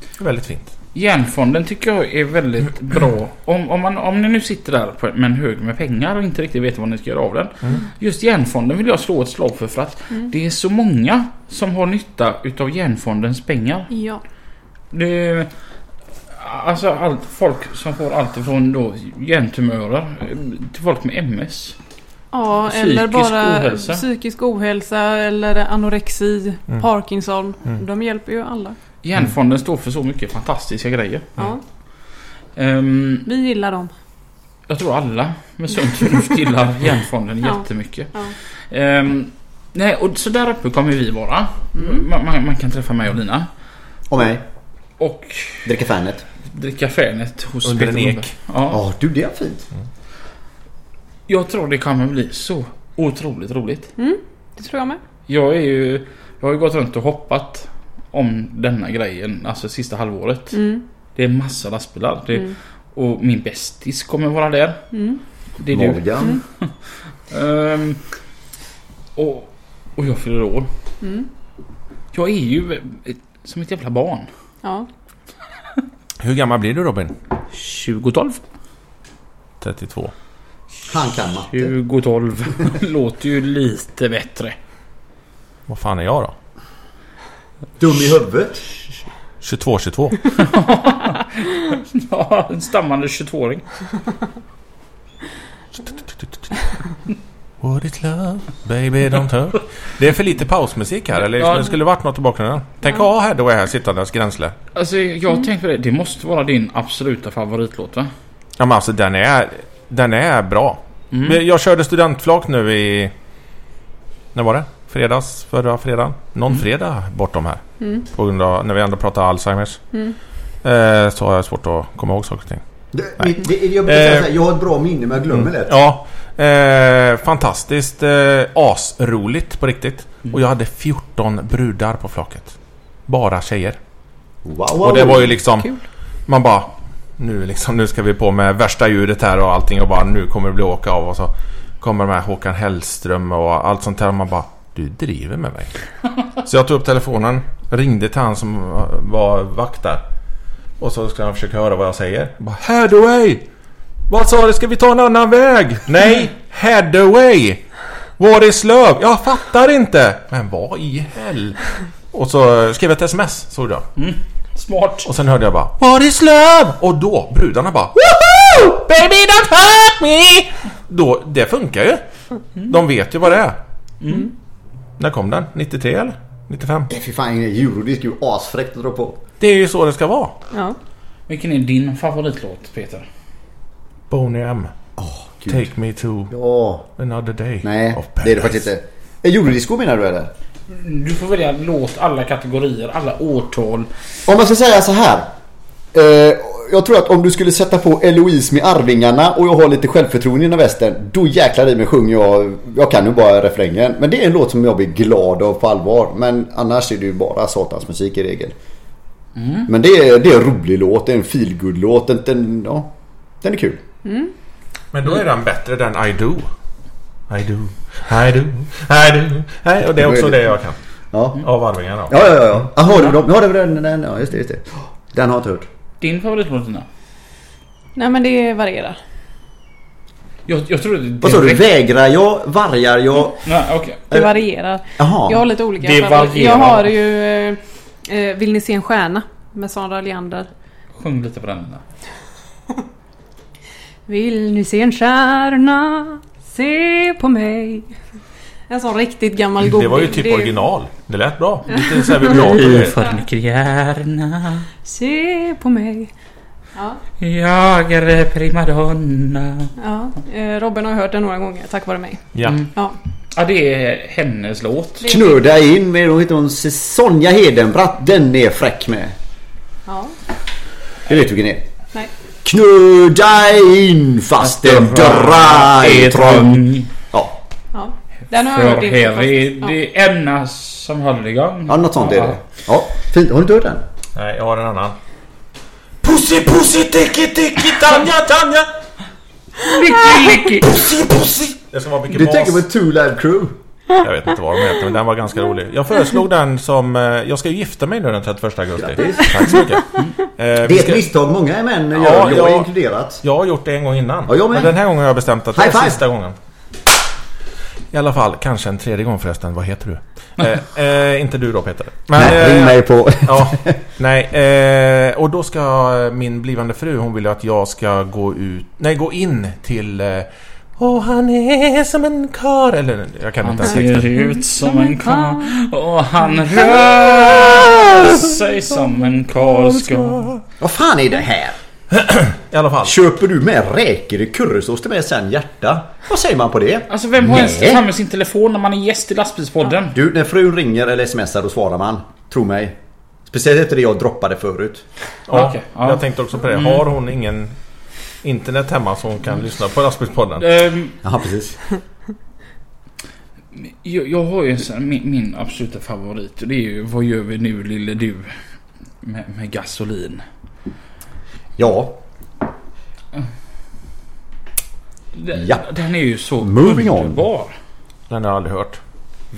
Det är väldigt fint.
Järnfonden tycker jag är väldigt bra. Om, om, man, om ni nu sitter där på, med en hög med pengar och inte riktigt vet vad ni ska göra av den. Just järnfonden vill jag slå ett slag för för att det är så många som har nytta utav järnfondens pengar.
Ja.
Det är, alltså allt, folk som får allt ifrån då hjärntumörer eh, till folk med MS.
Ja,
Psykisk
eller bara
ohälsa. Mm.
psykisk ohälsa eller anorexi, Parkinson. De hjälper ju alla.
Järnfonden står för så mycket fantastiska grejer.
Ja,
Ehm,
vi gillar dem.
Jag tror alla med sunt förnuft gillar järnfonden
Ja.
jättemycket.
Ja.
Ehm, nej, och så där uppe kommer vi vara.
Mm.
Man, man, man kan träffa mig och Lina.
Och mig.
Och
Dricka Fernet.
dricka Fernet hos
Under en
Peter
ek.
Lundberg. Ja,
Ja, du det är fint.
Jag tror det kommer bli så otroligt roligt.
Det tror jag med.
Jag är ju... Jag har ju gått runt och hoppat om denna grejen, alltså sista halvåret.
Mm.
Det är en massa lastbilar. Det, Och min bästis kommer vara där.
Mm.
Det är du.
Morgan.
Mm.
Ehm, och, och jag fyller år. Jag är ju ett, som ett jävla barn.
Ja.
Hur gammal blir du Robin?
2012.
32.
Han kan matte.
2012 låter ju lite bättre.
Vad fan är jag då?
Dum i huvudet.
22, 22.
Ja, en stammande 22-åring.
What it love?
Baby don't hurt. Det är för lite pausmusik här, eller
Ja.
det skulle varit något i bakgrunden. Tänk, ja, här då är här sittandes gränsle.
Alltså jag har tänkt på det. Det måste vara din absoluta favoritlåt va?
Ja men alltså den är, den är bra. Men Jag körde studentflak nu i... När var det? Fredags? Förra fredagen? Någon fredag bortom här. På grund av, när vi ändå pratar Alzheimers. Eh, så har jag svårt att komma ihåg saker och ting.
Det, mitt- det, jag, brukar säga
Eh. Mm.
så här, jag har ett bra minne men jag glömmer lätt.
Ja. Eh, fantastiskt. Eh, asroligt på riktigt. Och jag hade 14 brudar på flaket. Bara tjejer.
Wow,
Och det var ju liksom...
Kul.
Man bara... Nu, liksom, nu ska vi på med värsta ljudet här och allting och bara nu kommer det bli åka av och så kommer de här Håkan Hellström och allt sånt där och man bara Du driver med mig. så jag tog upp telefonen, ringde till han som var vakt där. Och så ska han försöka höra vad jag säger. Jag bara Hadaway! Vad sa du? Ska vi ta en annan väg? Nej! Hadaway! What is love? Jag fattar inte! Men vad i hell? Och så skrev jag ett sms, såg jag.
Smart.
Och sen hörde jag bara What is love? Och då brudarna bara Woohoo! Baby don't hurt me! Då, det funkar ju. De vet ju vad det är. Mm. När kom den? 93 eller? 95?
Det är för fan ingen eurodisk. Det är ju asfräckt att dra på.
Det är ju så det ska vara.
ja.
Vilken är din favoritlåt Peter?
Boney M.
gud.
Take me to
Ja.
another day.
Nej,
Of
det är det faktiskt inte. Är Eurodisco menar du eller?
Du får välja låt, alla kategorier, alla årtal.
Om man ska säga så här. Eh, jag tror att om du skulle sätta på Eloise med Arvingarna och jag har lite självförtroende inom västen. Då jäklar i mig sjunger jag. Jag kan ju bara refrängen. Men det är en låt som jag blir glad av på allvar. Men annars är det ju bara satans musik i regel. Men det är, det är en rolig låt. Det är en feelgood låt den, den, ja, den är kul.
Men då är den bättre than I do. I do. I do. I do. Nej, och det är också det jag kan.
Ja,
Av Arvingarna.
ja, ja. ja. ja. Har du dem? Ja, det var den, den, ja, just det, just det. Den har jag inte hört.
Din favoritlåt Lina?
Nej men det varierar.
Jag, jag tror det är
Vad sa du?
direkt-
Vägrar jag? Vargar jag?
Nej, okej.
Det varierar.
Jaha.
Jag har lite olika.
Eh. Det
favoriter.
varierar.
Jag har ju eh, eh, Vill ni se en stjärna? Med Sandra Leander.
Sjung lite på den Lina.
Vill ni se en stjärna? Se på mig. En sån riktigt gammal goding.
Det var ju
är
typ original. Det lät bra. Lite såhär vibrator.
Förnikrierna
Se på mig. Ja,
Jag är primadonna
ja. Eh, Robin har hört den några gånger tack vare mig.
Ja.
Ja.
Ja det är hennes låt.
Knurda in med, hon heter hon Sonja Hedenbratt. Den är fräck med.
ja.
Det vet du vilken det är.
Nej.
Knurda in fast den drar i trång. Ja.
Ja. Den har jag
För
hört inför
här är
fast- ja.
det endast Samhälliga.
Ja, något sånt är det. Ja, fint. Har du inte hört den?
Nej, jag har en annan. Pussy pussy tiki tiki Tanja Tanja! Pussy pussy! Det ska vara mycket
Du
bas.
tänker på Two Live Crew?
Jag vet inte vad de heter men den var ganska rolig. Jag föreslog den som... eh, Jag ska ju gifta mig nu den 31 augusti.
Grattis.
Tack så mycket. Eh, vi
Mm. Det är
ska-
ett misstag många män gör.
Ja,
jag
ja.
är inkluderat.
Jag har gjort det en gång innan.
Ja, jag med.
men den här gången har jag bestämt att det
High
är
five.
sista gången. I alla fall, kanske en tredje gång förresten. Vad heter du? eh, eh, inte du då Peter. Men,
Nej,
eh,
ring mig på...
Ja, nej. Eh, och då ska min blivande fru, hon vill ju att jag ska gå ut, nej gå in till eh, Åh han är som en kar Eller jag kan inte
Han
ens texten.
ser ut som en karl och han rör sig som en karl ska.
Vad fan är det här?
I alla fall.
Köper du med räkor i currysås till med sen hjärta? Vad säger man på det?
Alltså vem har ens
Nej.
framme sin telefon när man är gäst i lastbilspodden?
Du, när frun ringer eller smsar då svarar man. Tro mig. Speciellt efter det jag droppade förut.
Ja,
Okej, ja. Mm.
Jag tänkte också på det. Har hon ingen internet hemma så hon kan lyssna på lastbilspodden?
Ehm,
Ja, precis.
jag, jag har ju en sån, min, min absoluta favorit och det är ju Vad gör vi nu lille du? Med, med gasolin.
Ja,
Den,
Ja.
den är ju så
Moving on.
underbar.
Den har jag aldrig hört.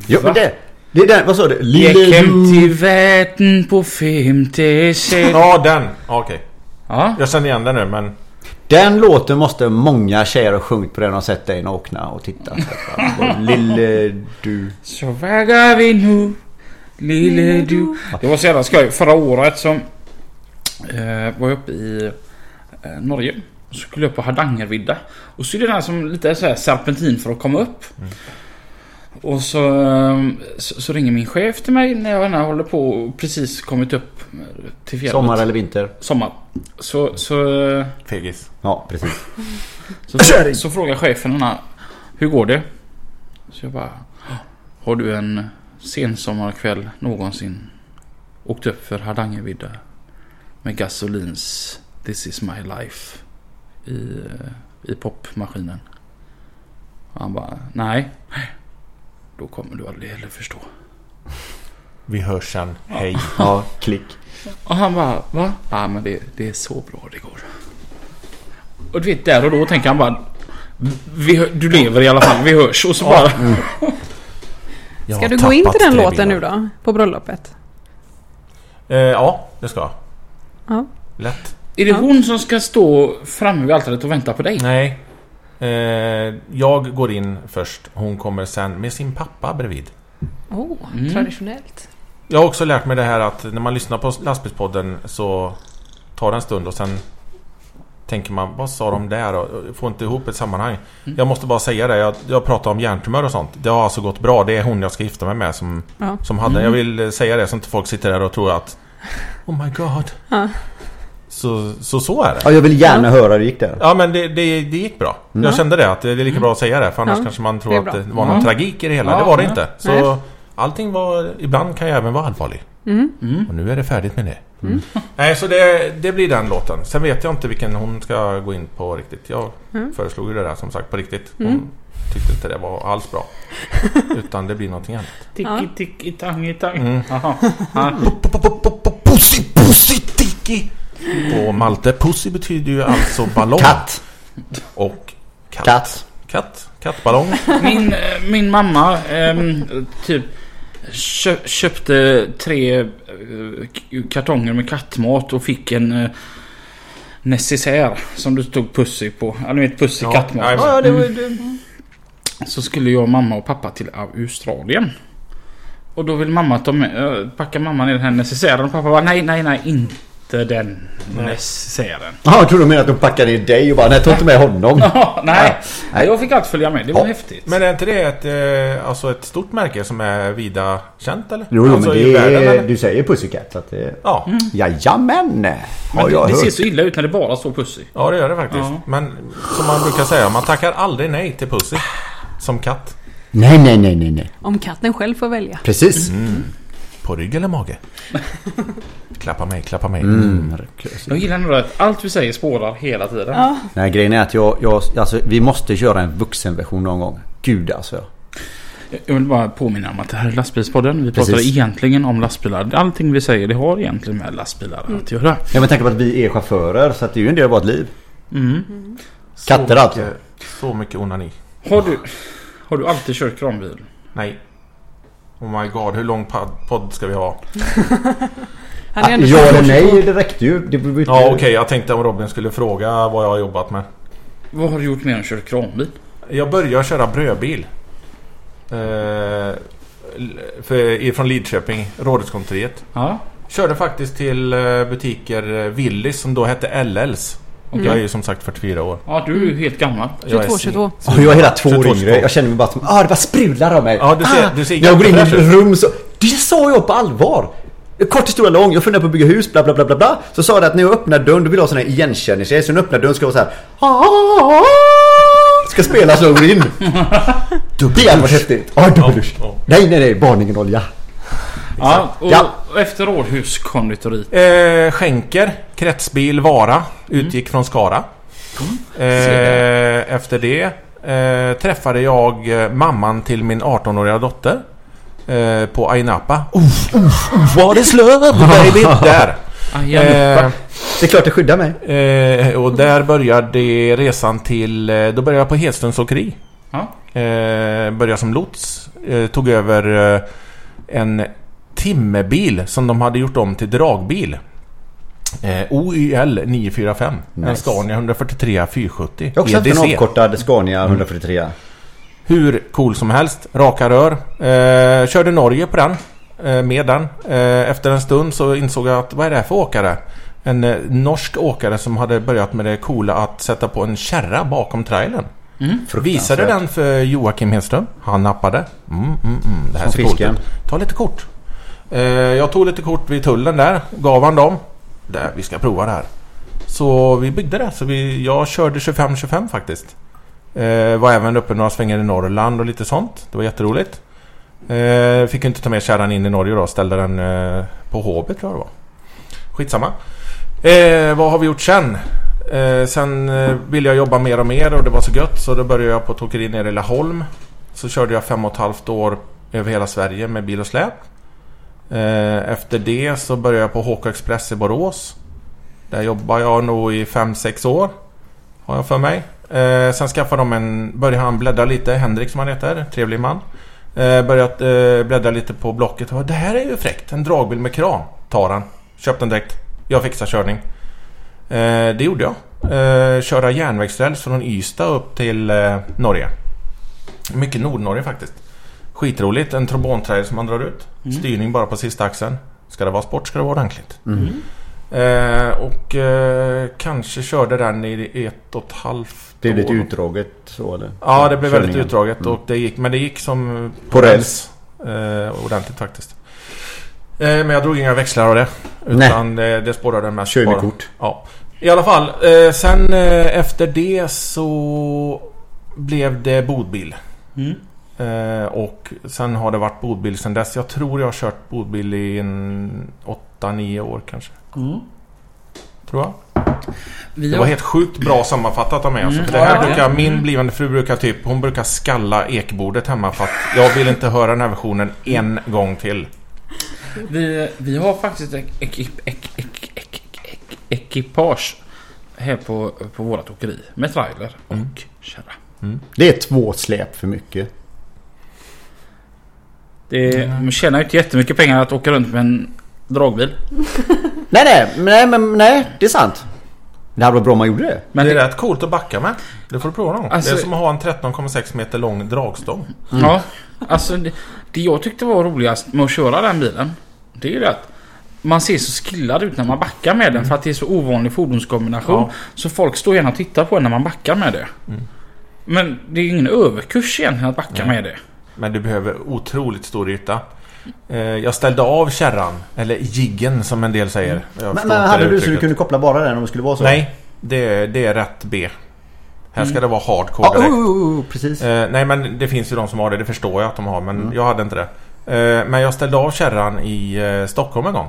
ja men det... Det är den, vad sa du?
Gick hem
du-
till världen på 56.
Ja, den! Ja, Okej.
Ja,
Jag känner igen den nu men...
Den låten måste många tjejer ha sjungit på den och sett dig nakna och tittat. Lille du...
så vägar vi nu lille du. Det var så jävla skoj. Förra året som eh, var jag uppe i eh, Norge. Och så skulle jag upp på Hardangervidda. Och så är det den här som lite så här serpentin för att komma upp.
Mm.
Och så, eh, så, så ringer min chef till mig när jag när jag håller på och precis kommit upp eh, till fjället.
Sommar eller vinter?
Sommar. Så, så eh,
Fegis.
Ja, precis.
Så, så frågar chefen henne Hur går det? Så jag bara Har du en sensommarkväll någonsin åkt upp för Hardangervidda med gasolins This is my life i, eh, i popmaskinen? Och han bara Nej. Då kommer du aldrig heller förstå.
Vi hörs sen. Hej.
Ja, klick.
Och han bara Va? Ja men det, det är så bra det går. Och du vet där och då tänker han bara vi, hö- du lever i alla fall, vi hörs. Och så bara...
Jag
Ska
har
du gå in
tappat
till den
tre
låten nu
bilar.
då? På bröllopet?
Eh, ja, det ska jag.
Ja.
Lätt.
Är det hon som ska stå framme vid altaret och vänta på dig?
Nej. Eh, jag går in först. Hon kommer sen med sin pappa bredvid.
Oh,
Mm.
traditionellt.
Jag har också lärt mig det här att när man lyssnar på lastbilspodden så tar det en stund och sen tänker man vad sa de där och och får inte ihop ett sammanhang. Jag måste bara säga det. Jag, jag pratar om hjärntumör och sånt. Det har alltså gått bra. Det är hon jag ska gifta mig med som,
Ja.
som hade. Jag vill eh, säga det så inte folk sitter där och tror att Oh my god. Så, så så är det.
Ja, jag vill gärna höra hur det gick där.
Ja men det, det, det gick bra. Jag kände det att det är lika bra att säga det för annars
Ja,
kanske man
det
tror
är
att
bra.
det var någon tragik i det hela.
Ja,
det var det
ja.
inte. Så
Nej.
allting var... Ibland kan jag även vara allvarlig.
Mm.
Och nu är det färdigt med det. Nej så det, det blir den låten. Sen vet jag inte vilken hon ska gå in på riktigt. Jag
Mm.
föreslog ju det där som sagt på riktigt. Hon tyckte inte det var alls bra. Utan det blir någonting annat.
Tiki, tiki, tangi, tangi. Jaha.
Pussy, pussy, tiki! På Malte, pussy betyder ju alltså ballong.
Katt!
Och katt.
Katt!
Katt, kattballong.
Min, eh, min mamma ehm, typ kö, köpte tre eh, k- kartonger med kattmat och fick en eh, necessär som det stod Pussy på. Ja, ni vet Pussy kattmat.
nej, men- Mm.
Ja, det var ju...
Så skulle jag, mamma och pappa till Australien. Och då vill mamma ta med, eh, packa mamma ner den här necessären och pappa bara nej, nej, nej, inte den necessären.
Jaha, jag trodde du menade att de packade ner dig och bara nej, ta inte med honom.
Ja, nej.
Nej.
jag fick allt följa med. Det var
Ja.
häftigt.
Men är inte det ett, eh, alltså ett stort märke som är vida känt eller?
Jo, jo
alltså,
men
i
det
världen,
är,
eller?
du säger pussycat så att det...
Ja.
Jajamän!
Men
Har jag
det, det ser
hört.
så illa ut när det bara står Pussy.
ja, det gör det faktiskt.
Ja.
Men som man brukar säga, man tackar aldrig nej till Pussy. Som katt.
Nej, nej, nej, nej, nej.
Om katten själv får välja.
Precis.
På rygg eller mage? klappa mig, klappa mig.
Mm.
Mm.
Jag gillar nog att allt vi säger spårar hela tiden.
Nej, grejen är att jag, jag alltså, vi måste köra en vuxenversion någon gång. Gud alltså.
Jag vill bara påminna om att det här är lastbilspodden. Vi pratar
Precis.
egentligen om lastbilar. Allting vi säger det har egentligen med lastbilar att göra.
Ja men tänk på att vi är chaufförer så att det är ju en del av vårt liv.
Mm.
Katter
så
alltså.
mycket, så mycket onani.
Har, du, har du alltid kört kranbil?
Nej. Oh my god, hur lång pad- podd ska vi ha?
Han är ändå
Ah,
22.
Ja eller nej det räckte ju. Det blev ju inte-
Ja okej, jag tänkte om Robin skulle fråga vad jag har jobbat med.
Vad har du gjort mer än kört kranbil?
Jag började köra brödbil. Eh, l- för, ifrån Lidköping, Rådhuskontoriet.
Ja.
Körde faktiskt till eh, butiker eh, Willys som då hette LL's. Och Jag är ju som sagt 44 år.
ja, du är ju helt gammal.
Jag
22,
är singel.
22.
Ja, jag är hela två år
22.
yngre. Jag känner mig bara som... Ah det bara sprudlar av mig.
Ja, du ser-
ah,
du ser
när jag går in i ett
jättefräsch
rum så... Det sa jag på allvar. Kort historia lång. Jag funderar på att bygga hus bla bla bla bla bla. Så sa det att när jag öppnar dörren då vill jag ha sån här igenkänningsgrej. Så när jag öppnar dörren ska jag vara så här... "Ah." Ska spela så jag går in. Det hade varit häftigt. Ja dubbeldusch.
Ja, ja.
Nej nej nej barningenolja.
Ja, och
Ja.
efter Århuskonditoriet.
Eh, skänker, kretsbil, Vara. Utgick från Skara. Eh, efter det eh, träffade jag eh, mamman till min 18-åriga dotter. Eh, på Ainapa. Oof, oof, oof, what is love baby? Där!
Eh,
Det är klart det skyddar mig.
Eh, eh, och där började resan till... eh, Då började jag på Hedströms Åkeri.
ja.
Eh, började som lots. Eh, tog över eh, en timmerbil som de hade gjort om till dragbil. Eh, OYL 945. En Scania E 143 470.
Jag har också haft en
EDC.
avkortad Scania
Mm.
143.
Hur cool som helst. Raka rör. Eh, körde Norge på den. Eh, med den. Eh, efter en stund så insåg jag att vad är det här för åkare? En eh, norsk åkare som hade börjat med det coola att sätta på en kärra bakom trailern. Visade den för Joakim Hedström. Han nappade. Mm, mm, mm. Det här
Som
ser coolt
fisken.
ut. Ta lite kort. Eh, jag tog lite kort vid tullen där. Gav han dem. Där, vi ska prova det här. Så vi byggde det. Så vi, jag körde 25-25 faktiskt. Eh, var även uppe några svängar i Norrland och lite sånt. Det var jätteroligt. Eh, fick ju inte ta med kärran in i Norge då. Ställde den eh, på Hovet tror jag det var. Skitsamma. Eh, vad har vi gjort sen? Eh, sen eh, ville jag jobba mer och mer och det var så gött så då började jag på ett åkeri nere i Laholm. Så körde jag fem och ett halvt år över hela Sverige med bil och släp. Eh, efter det så började jag på HK Express i Borås. Där jobbar jag nog i fem sex år. Har jag för mig. Eh, sen skaffade de en... Började han bläddra lite. Henrik som han heter. Trevlig man. Eh, börjat eh, bläddra lite på Blocket. Och, det här är ju fräckt. En dragbil med kran. Tar han. Köp den direkt. Jag fixar körning. Eh, det gjorde jag. Eh, köra järnvägsräls från Ystad upp till eh, Norge. Mycket Nordnorge faktiskt. Skitroligt. En trombontrailer som man drar ut.
Mm.
Styrning bara på sista axeln. Ska det vara sport ska det vara ordentligt. Eh, och eh, kanske körde den i ett och ett halvt
Blev lite
år.
utdraget så eller?
Ja, det blev väldigt
Körningen. Mm.
utdraget. Och det gick, men det gick som...
På räls.
Eh, ordentligt faktiskt. Eh, men jag drog inga växlar av det.
Nej.
Utan eh, det spårade mest
Kör med
bara.
kort.
Ja. I alla fall. Eh, sen eh, efter det så blev det bodbil.
Mm.
Eh, och sen har det varit bodbil sen dess. Jag tror jag har kört bodbil i en 8-9 år kanske.
Mm.
Tror jag.
Vi
Det
har-
var helt sjukt bra sammanfattat av mig alltså.
Mm.
För
Ja,
det här
ja.
brukar min blivande fru brukar typ... Hon brukar skalla ekbordet hemma för att jag vill inte höra den här versionen en gång till.
Vi, vi har faktiskt ek, ek, ek, ek, ek, ek, ekipage här på, på vårat åkeri med trailer och
Mm.
kärra.
Det är två släp för mycket.
Det man tjänar ju inte jättemycket pengar att åka runt med en dragbil.
Nej nej, men- nej men nej, det är sant. Det hade varit bra om man gjorde det.
Men
det är
det,
rätt coolt att backa med. Det får du prova någon gång.
Alltså-
Det är som att ha en 13,6 meter lång dragstång.
ja, alltså det, det jag tyckte var roligast med att köra den bilen. Det är ju det att man ser så skillad ut när man backar med den för att det är så ovanlig fordonskombination.
Ja. Mm.
Så folk står gärna och tittar på en när man backar med det. Men det är ju ingen överkurs egentligen att backa med det.
Men du behöver otroligt stor yta. Eh, Jag ställde av kärran. Eller jiggen som en del säger. Jag förstår
Men,
inte
men
det
hade du så du
uttrycket.
kunde koppla bara den om det skulle vara så?
Nej, det, det är rätt B. Här ska det vara hardcore
Ja, oh,
direkt.
oh, oh, Mm. oh, precis.
Eh, nej men det finns ju de som har det, det förstår jag att de har men jag hade inte det. Eh, men jag ställde av kärran i eh, Stockholm en gång.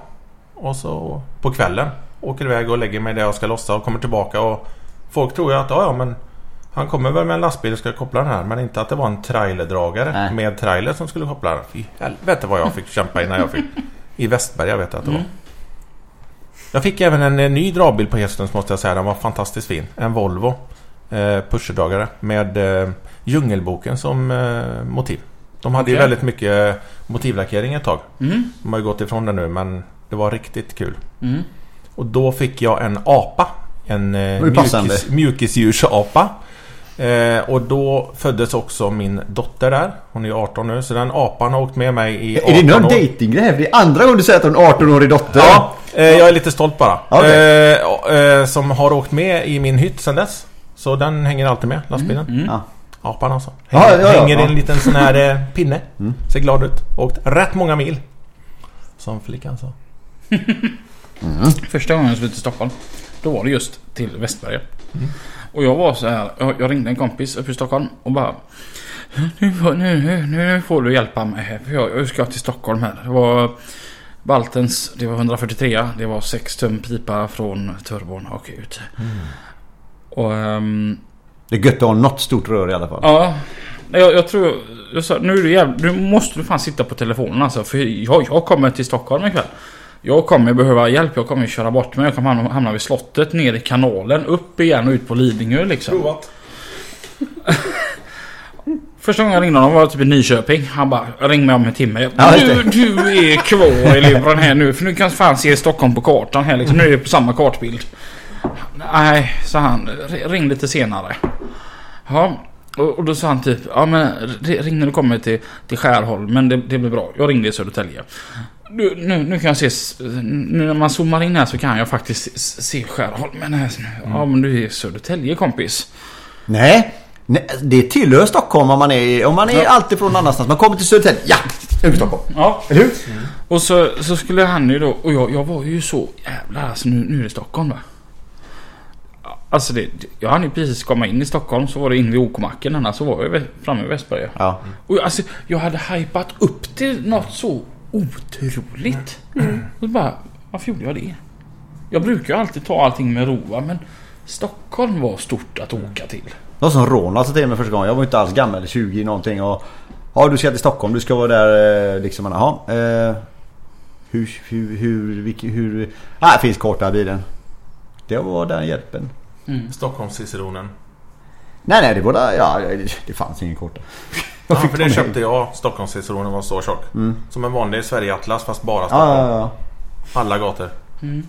Och så på kvällen åker iväg och lägger mig där jag ska lossa och kommer tillbaka och folk tror ju att ja ja men Han kommer väl med en lastbil och ska koppla den här men inte att det var en trailerdragare
Nej.
med trailer som skulle koppla den. Fy helvete vad jag fick kämpa innan jag fick. I Västberga vet jag att det var. Jag fick även en eh, ny dragbil på hästen måste jag säga. Den var fantastiskt fin. En Volvo eh, pusherdragare med eh, Djungelboken som eh, motiv. De hade ju
Okej.
väldigt mycket eh, motivlackering ett tag.
Mm.
De har ju gått ifrån det nu men det var riktigt kul.
Mm.
Och då fick jag en apa. En eh,
Vad passande.
mjukis, mjukisdjursapa. Eh, och då föddes också min dotter där. Hon är ju 18 nu så den apan har åkt med mig i 18
Är det någon
år.
dejtinggrej? här? Det är andra gången du säger att du har en 18-årig dotter.
Ja, eh, jag är lite stolt bara.
Okej.
Eh, och, eh, som har åkt med i min hytt sedan dess. Så den hänger alltid med, lastbilen.
Mm. Ja.
Apan alltså.
Ja,
Hänger,
ja, ja,
hänger i
ja. Mm.
en liten sån här eh, pinne. Ser glad ut. Åkt rätt många mil. Som alltså. flickan sa.
Första gången jag skulle till Stockholm, då var det just till Västberga. Och jag var så här, jag, jag ringde en kompis uppe i Stockholm och bara nu, får- nu, nu, nu får du hjälpa mig här för jag, jag ska till Stockholm här. Det var Baltens, det var 143 det var 6 tum pipa från turbon och ut. Och ehm,
Det är gött att ha något stort rör i alla fall.
ja, nej, jag, jag tror jag sa, nu är du jävla, nu måste du fan sitta på telefonen alltså för jag, jag kommer till Stockholm ikväll. Jag kommer behöva hjälp, jag kommer köra bort mig, jag kommer hamna, hamna vid slottet, ner i kanalen, upp igen och ut på Lidingö liksom.
Provat.
Mm.
Första gången jag ringde honom var typ i Nyköping. Han bara ring mig om en timme.
Ja, just
du, du är kvar i luren här nu för nu kan fan se Stockholm på kartan här liksom. Nu är det på samma kartbild. Nej, sa han. "r- Ring lite senare. Ja, och och då sa han typ ja men r- ring när du kommer till, till Skärholmen. Det, det blir bra. Jag ringde i Södertälje. Du, nu, nu kan jag se, s- nu när man zoomar in här så kan jag faktiskt s- se Skärholmen här. Ja men du är i Södertälje kompis.
Nej. Nej, det tillhör Stockholm om man är, om man är alltid från någon annanstans. Man kommer till Södertälje. Ja! Nu är vi i Stockholm.
Ja,
Eller hur?
Och så, så skulle han ju då, och jag, jag var ju så jävla alltså nu, nu är det Stockholm va? Alltså det, jag hann ju precis komma in i Stockholm så var det in vid OK-macken annars så var jag vä- framme vid Västberga.
Ja.
Och jag, alltså jag hade hypat upp till något så otroligt. Och så bara, varför gjorde jag det? Jag brukar ju alltid ta allting med ro va, men Stockholm var stort att åka till.
Det var som Ronald sa till mig första gången. Jag var inte alls gammal, 20 någonting. Och, ja du ska till Stockholm, du ska vara där eh, liksom. Jaha. Eh, hur, hur, hur, vilken, hur... Här finns korta bilen. Det var den hjälpen.
Stockholmsciceronen.
Nej nej det var där, ja det- det fanns ingen korta.
Ja, för det köpte jag. Stockholmsciceronen var så tjock. Som en vanlig Sverigeatlas fast bara Stockholm.
Mm. Ja, ja, ja.
Alla gator.
Mm.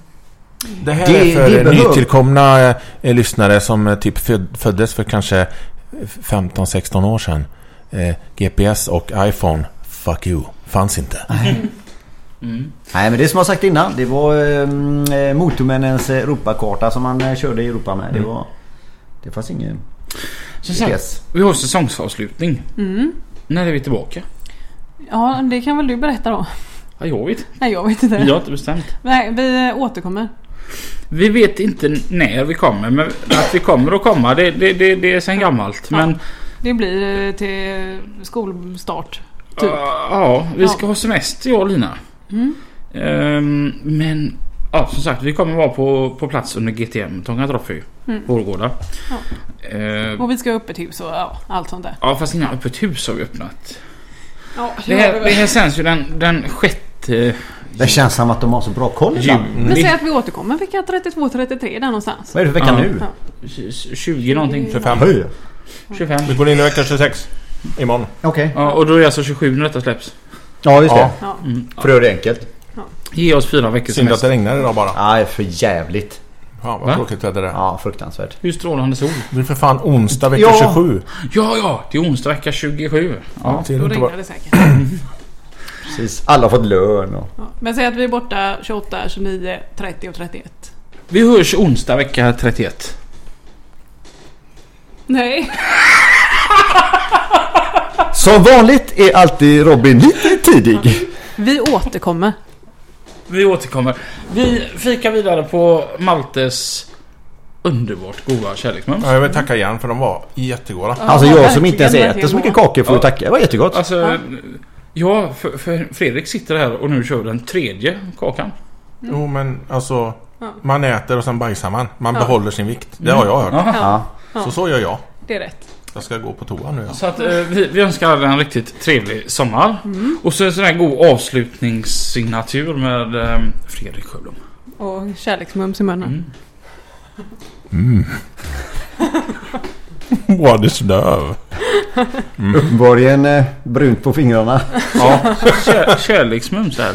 Det här
Det-
är för
det behöv-
nytillkomna eh, lyssnare som eh, typ föd, föddes för kanske 15-16 år sedan. Eh, GPS och iPhone, fuck you, fanns inte.
Nej men det är som jag sagt innan. Det var eh, Motormännens Europakarta som man eh, körde i Europa med. Det var... Det fanns ingen...
Så sen,
Yes.
vi har säsongsavslutning. När är vi tillbaka?
Mm. Ja, det kan väl du berätta då?
Ja, jag vet
Nej, jag vet inte.
Jag har inte bestämt.
Nej, vi återkommer.
Vi vet inte när vi kommer, men att vi kommer att komma det, det, det, det är sen gammalt. Men
Det blir eh, till skolstart. Typ.
äh, ja, vi ska ha semester jag och Lina. Ehm, men ja, som sagt, vi kommer vara på, på plats under GTM, Tånga Trophy, Vårgårda. Ehm,
Och vi ska ha öppet hus och ja, allt sånt där.
Ja fast innan öppet hus har vi öppnat.
Ja,
Det här, det här sänds ju den, den sjätte
Det känns som att de har så bra koll ibland.
Vi
juni.
säger att vi återkommer vecka 32-33 där någonstans.
Vad är det för vecka
Ja.
nu?
20 någonting.
25.
Höj.
25.
Vi går in i vecka 26. Imorgon.
Okej.
Ja, och då är det alltså 27 när detta släpps. Mm.
Ja just det.
Ja.
För då är det enkelt.
Ge oss fyra veckors
Synd att
semester.
det regnar idag bara.
Nej, för jävligt.
Fan
Va?
vad tråkigt väder det är.
Ja, fruktansvärt.
Hur strålande sol.
Det är för fan onsdag vecka
Ja.
27.
Ja, ja, det är onsdag vecka 27. Ja.
Ser du
Då
inte
regnar
vad-
det säkert.
Precis. Alla har fått lön och...
Ja. Men säg att vi är borta 28, 29, 30 och 31.
Vi hörs onsdag vecka 31.
Nej,
Som vanligt är alltid Robin lite tidig.
vi återkommer.
Vi återkommer. Vi fikar vidare på Maltes underbart goda kärleksmums.
Ja, jag vill tacka igen för de var jättegoda.
Alltså jag som
verkligen,
inte ens äter
verkligen.
så mycket kakor får ju tacka. Det var jättegott.
Alltså, ja, för, för Fredrik sitter här och nu kör den tredje kakan.
Jo men alltså.
Mm.
Man äter och sen bajsar man. Man behåller sin vikt. Det har jag hört.
Ja.
Så så gör jag.
Det är rätt.
Jag ska gå på toa nu.
Så att, eh, vi, vi önskar alla en riktigt trevlig sommar. Och så en sån här god avslutningssignatur med eh, Fredrik Sjöblom.
Och kärleksmums i munnen.
Mm.
What is love?
Uppenbarligen eh, brunt på fingrarna.
Ja, kär, kärleksmums här.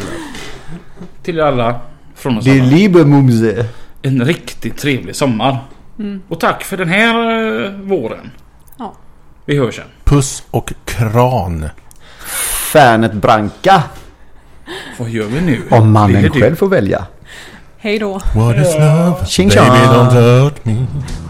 Till alla från oss
Det är
alla.
Liebermumse.
En riktigt trevlig sommar.
Mm.
Och tack för den här eh, våren.
Ja.
Vi hörs sen.
Puss och kran.
Fanet Branca.
Vad gör vi nu?
Om
Lille
mannen
du.
själv får välja.
Hej då.
What is love?
Tjing
Baby
tjong.
don't hurt me.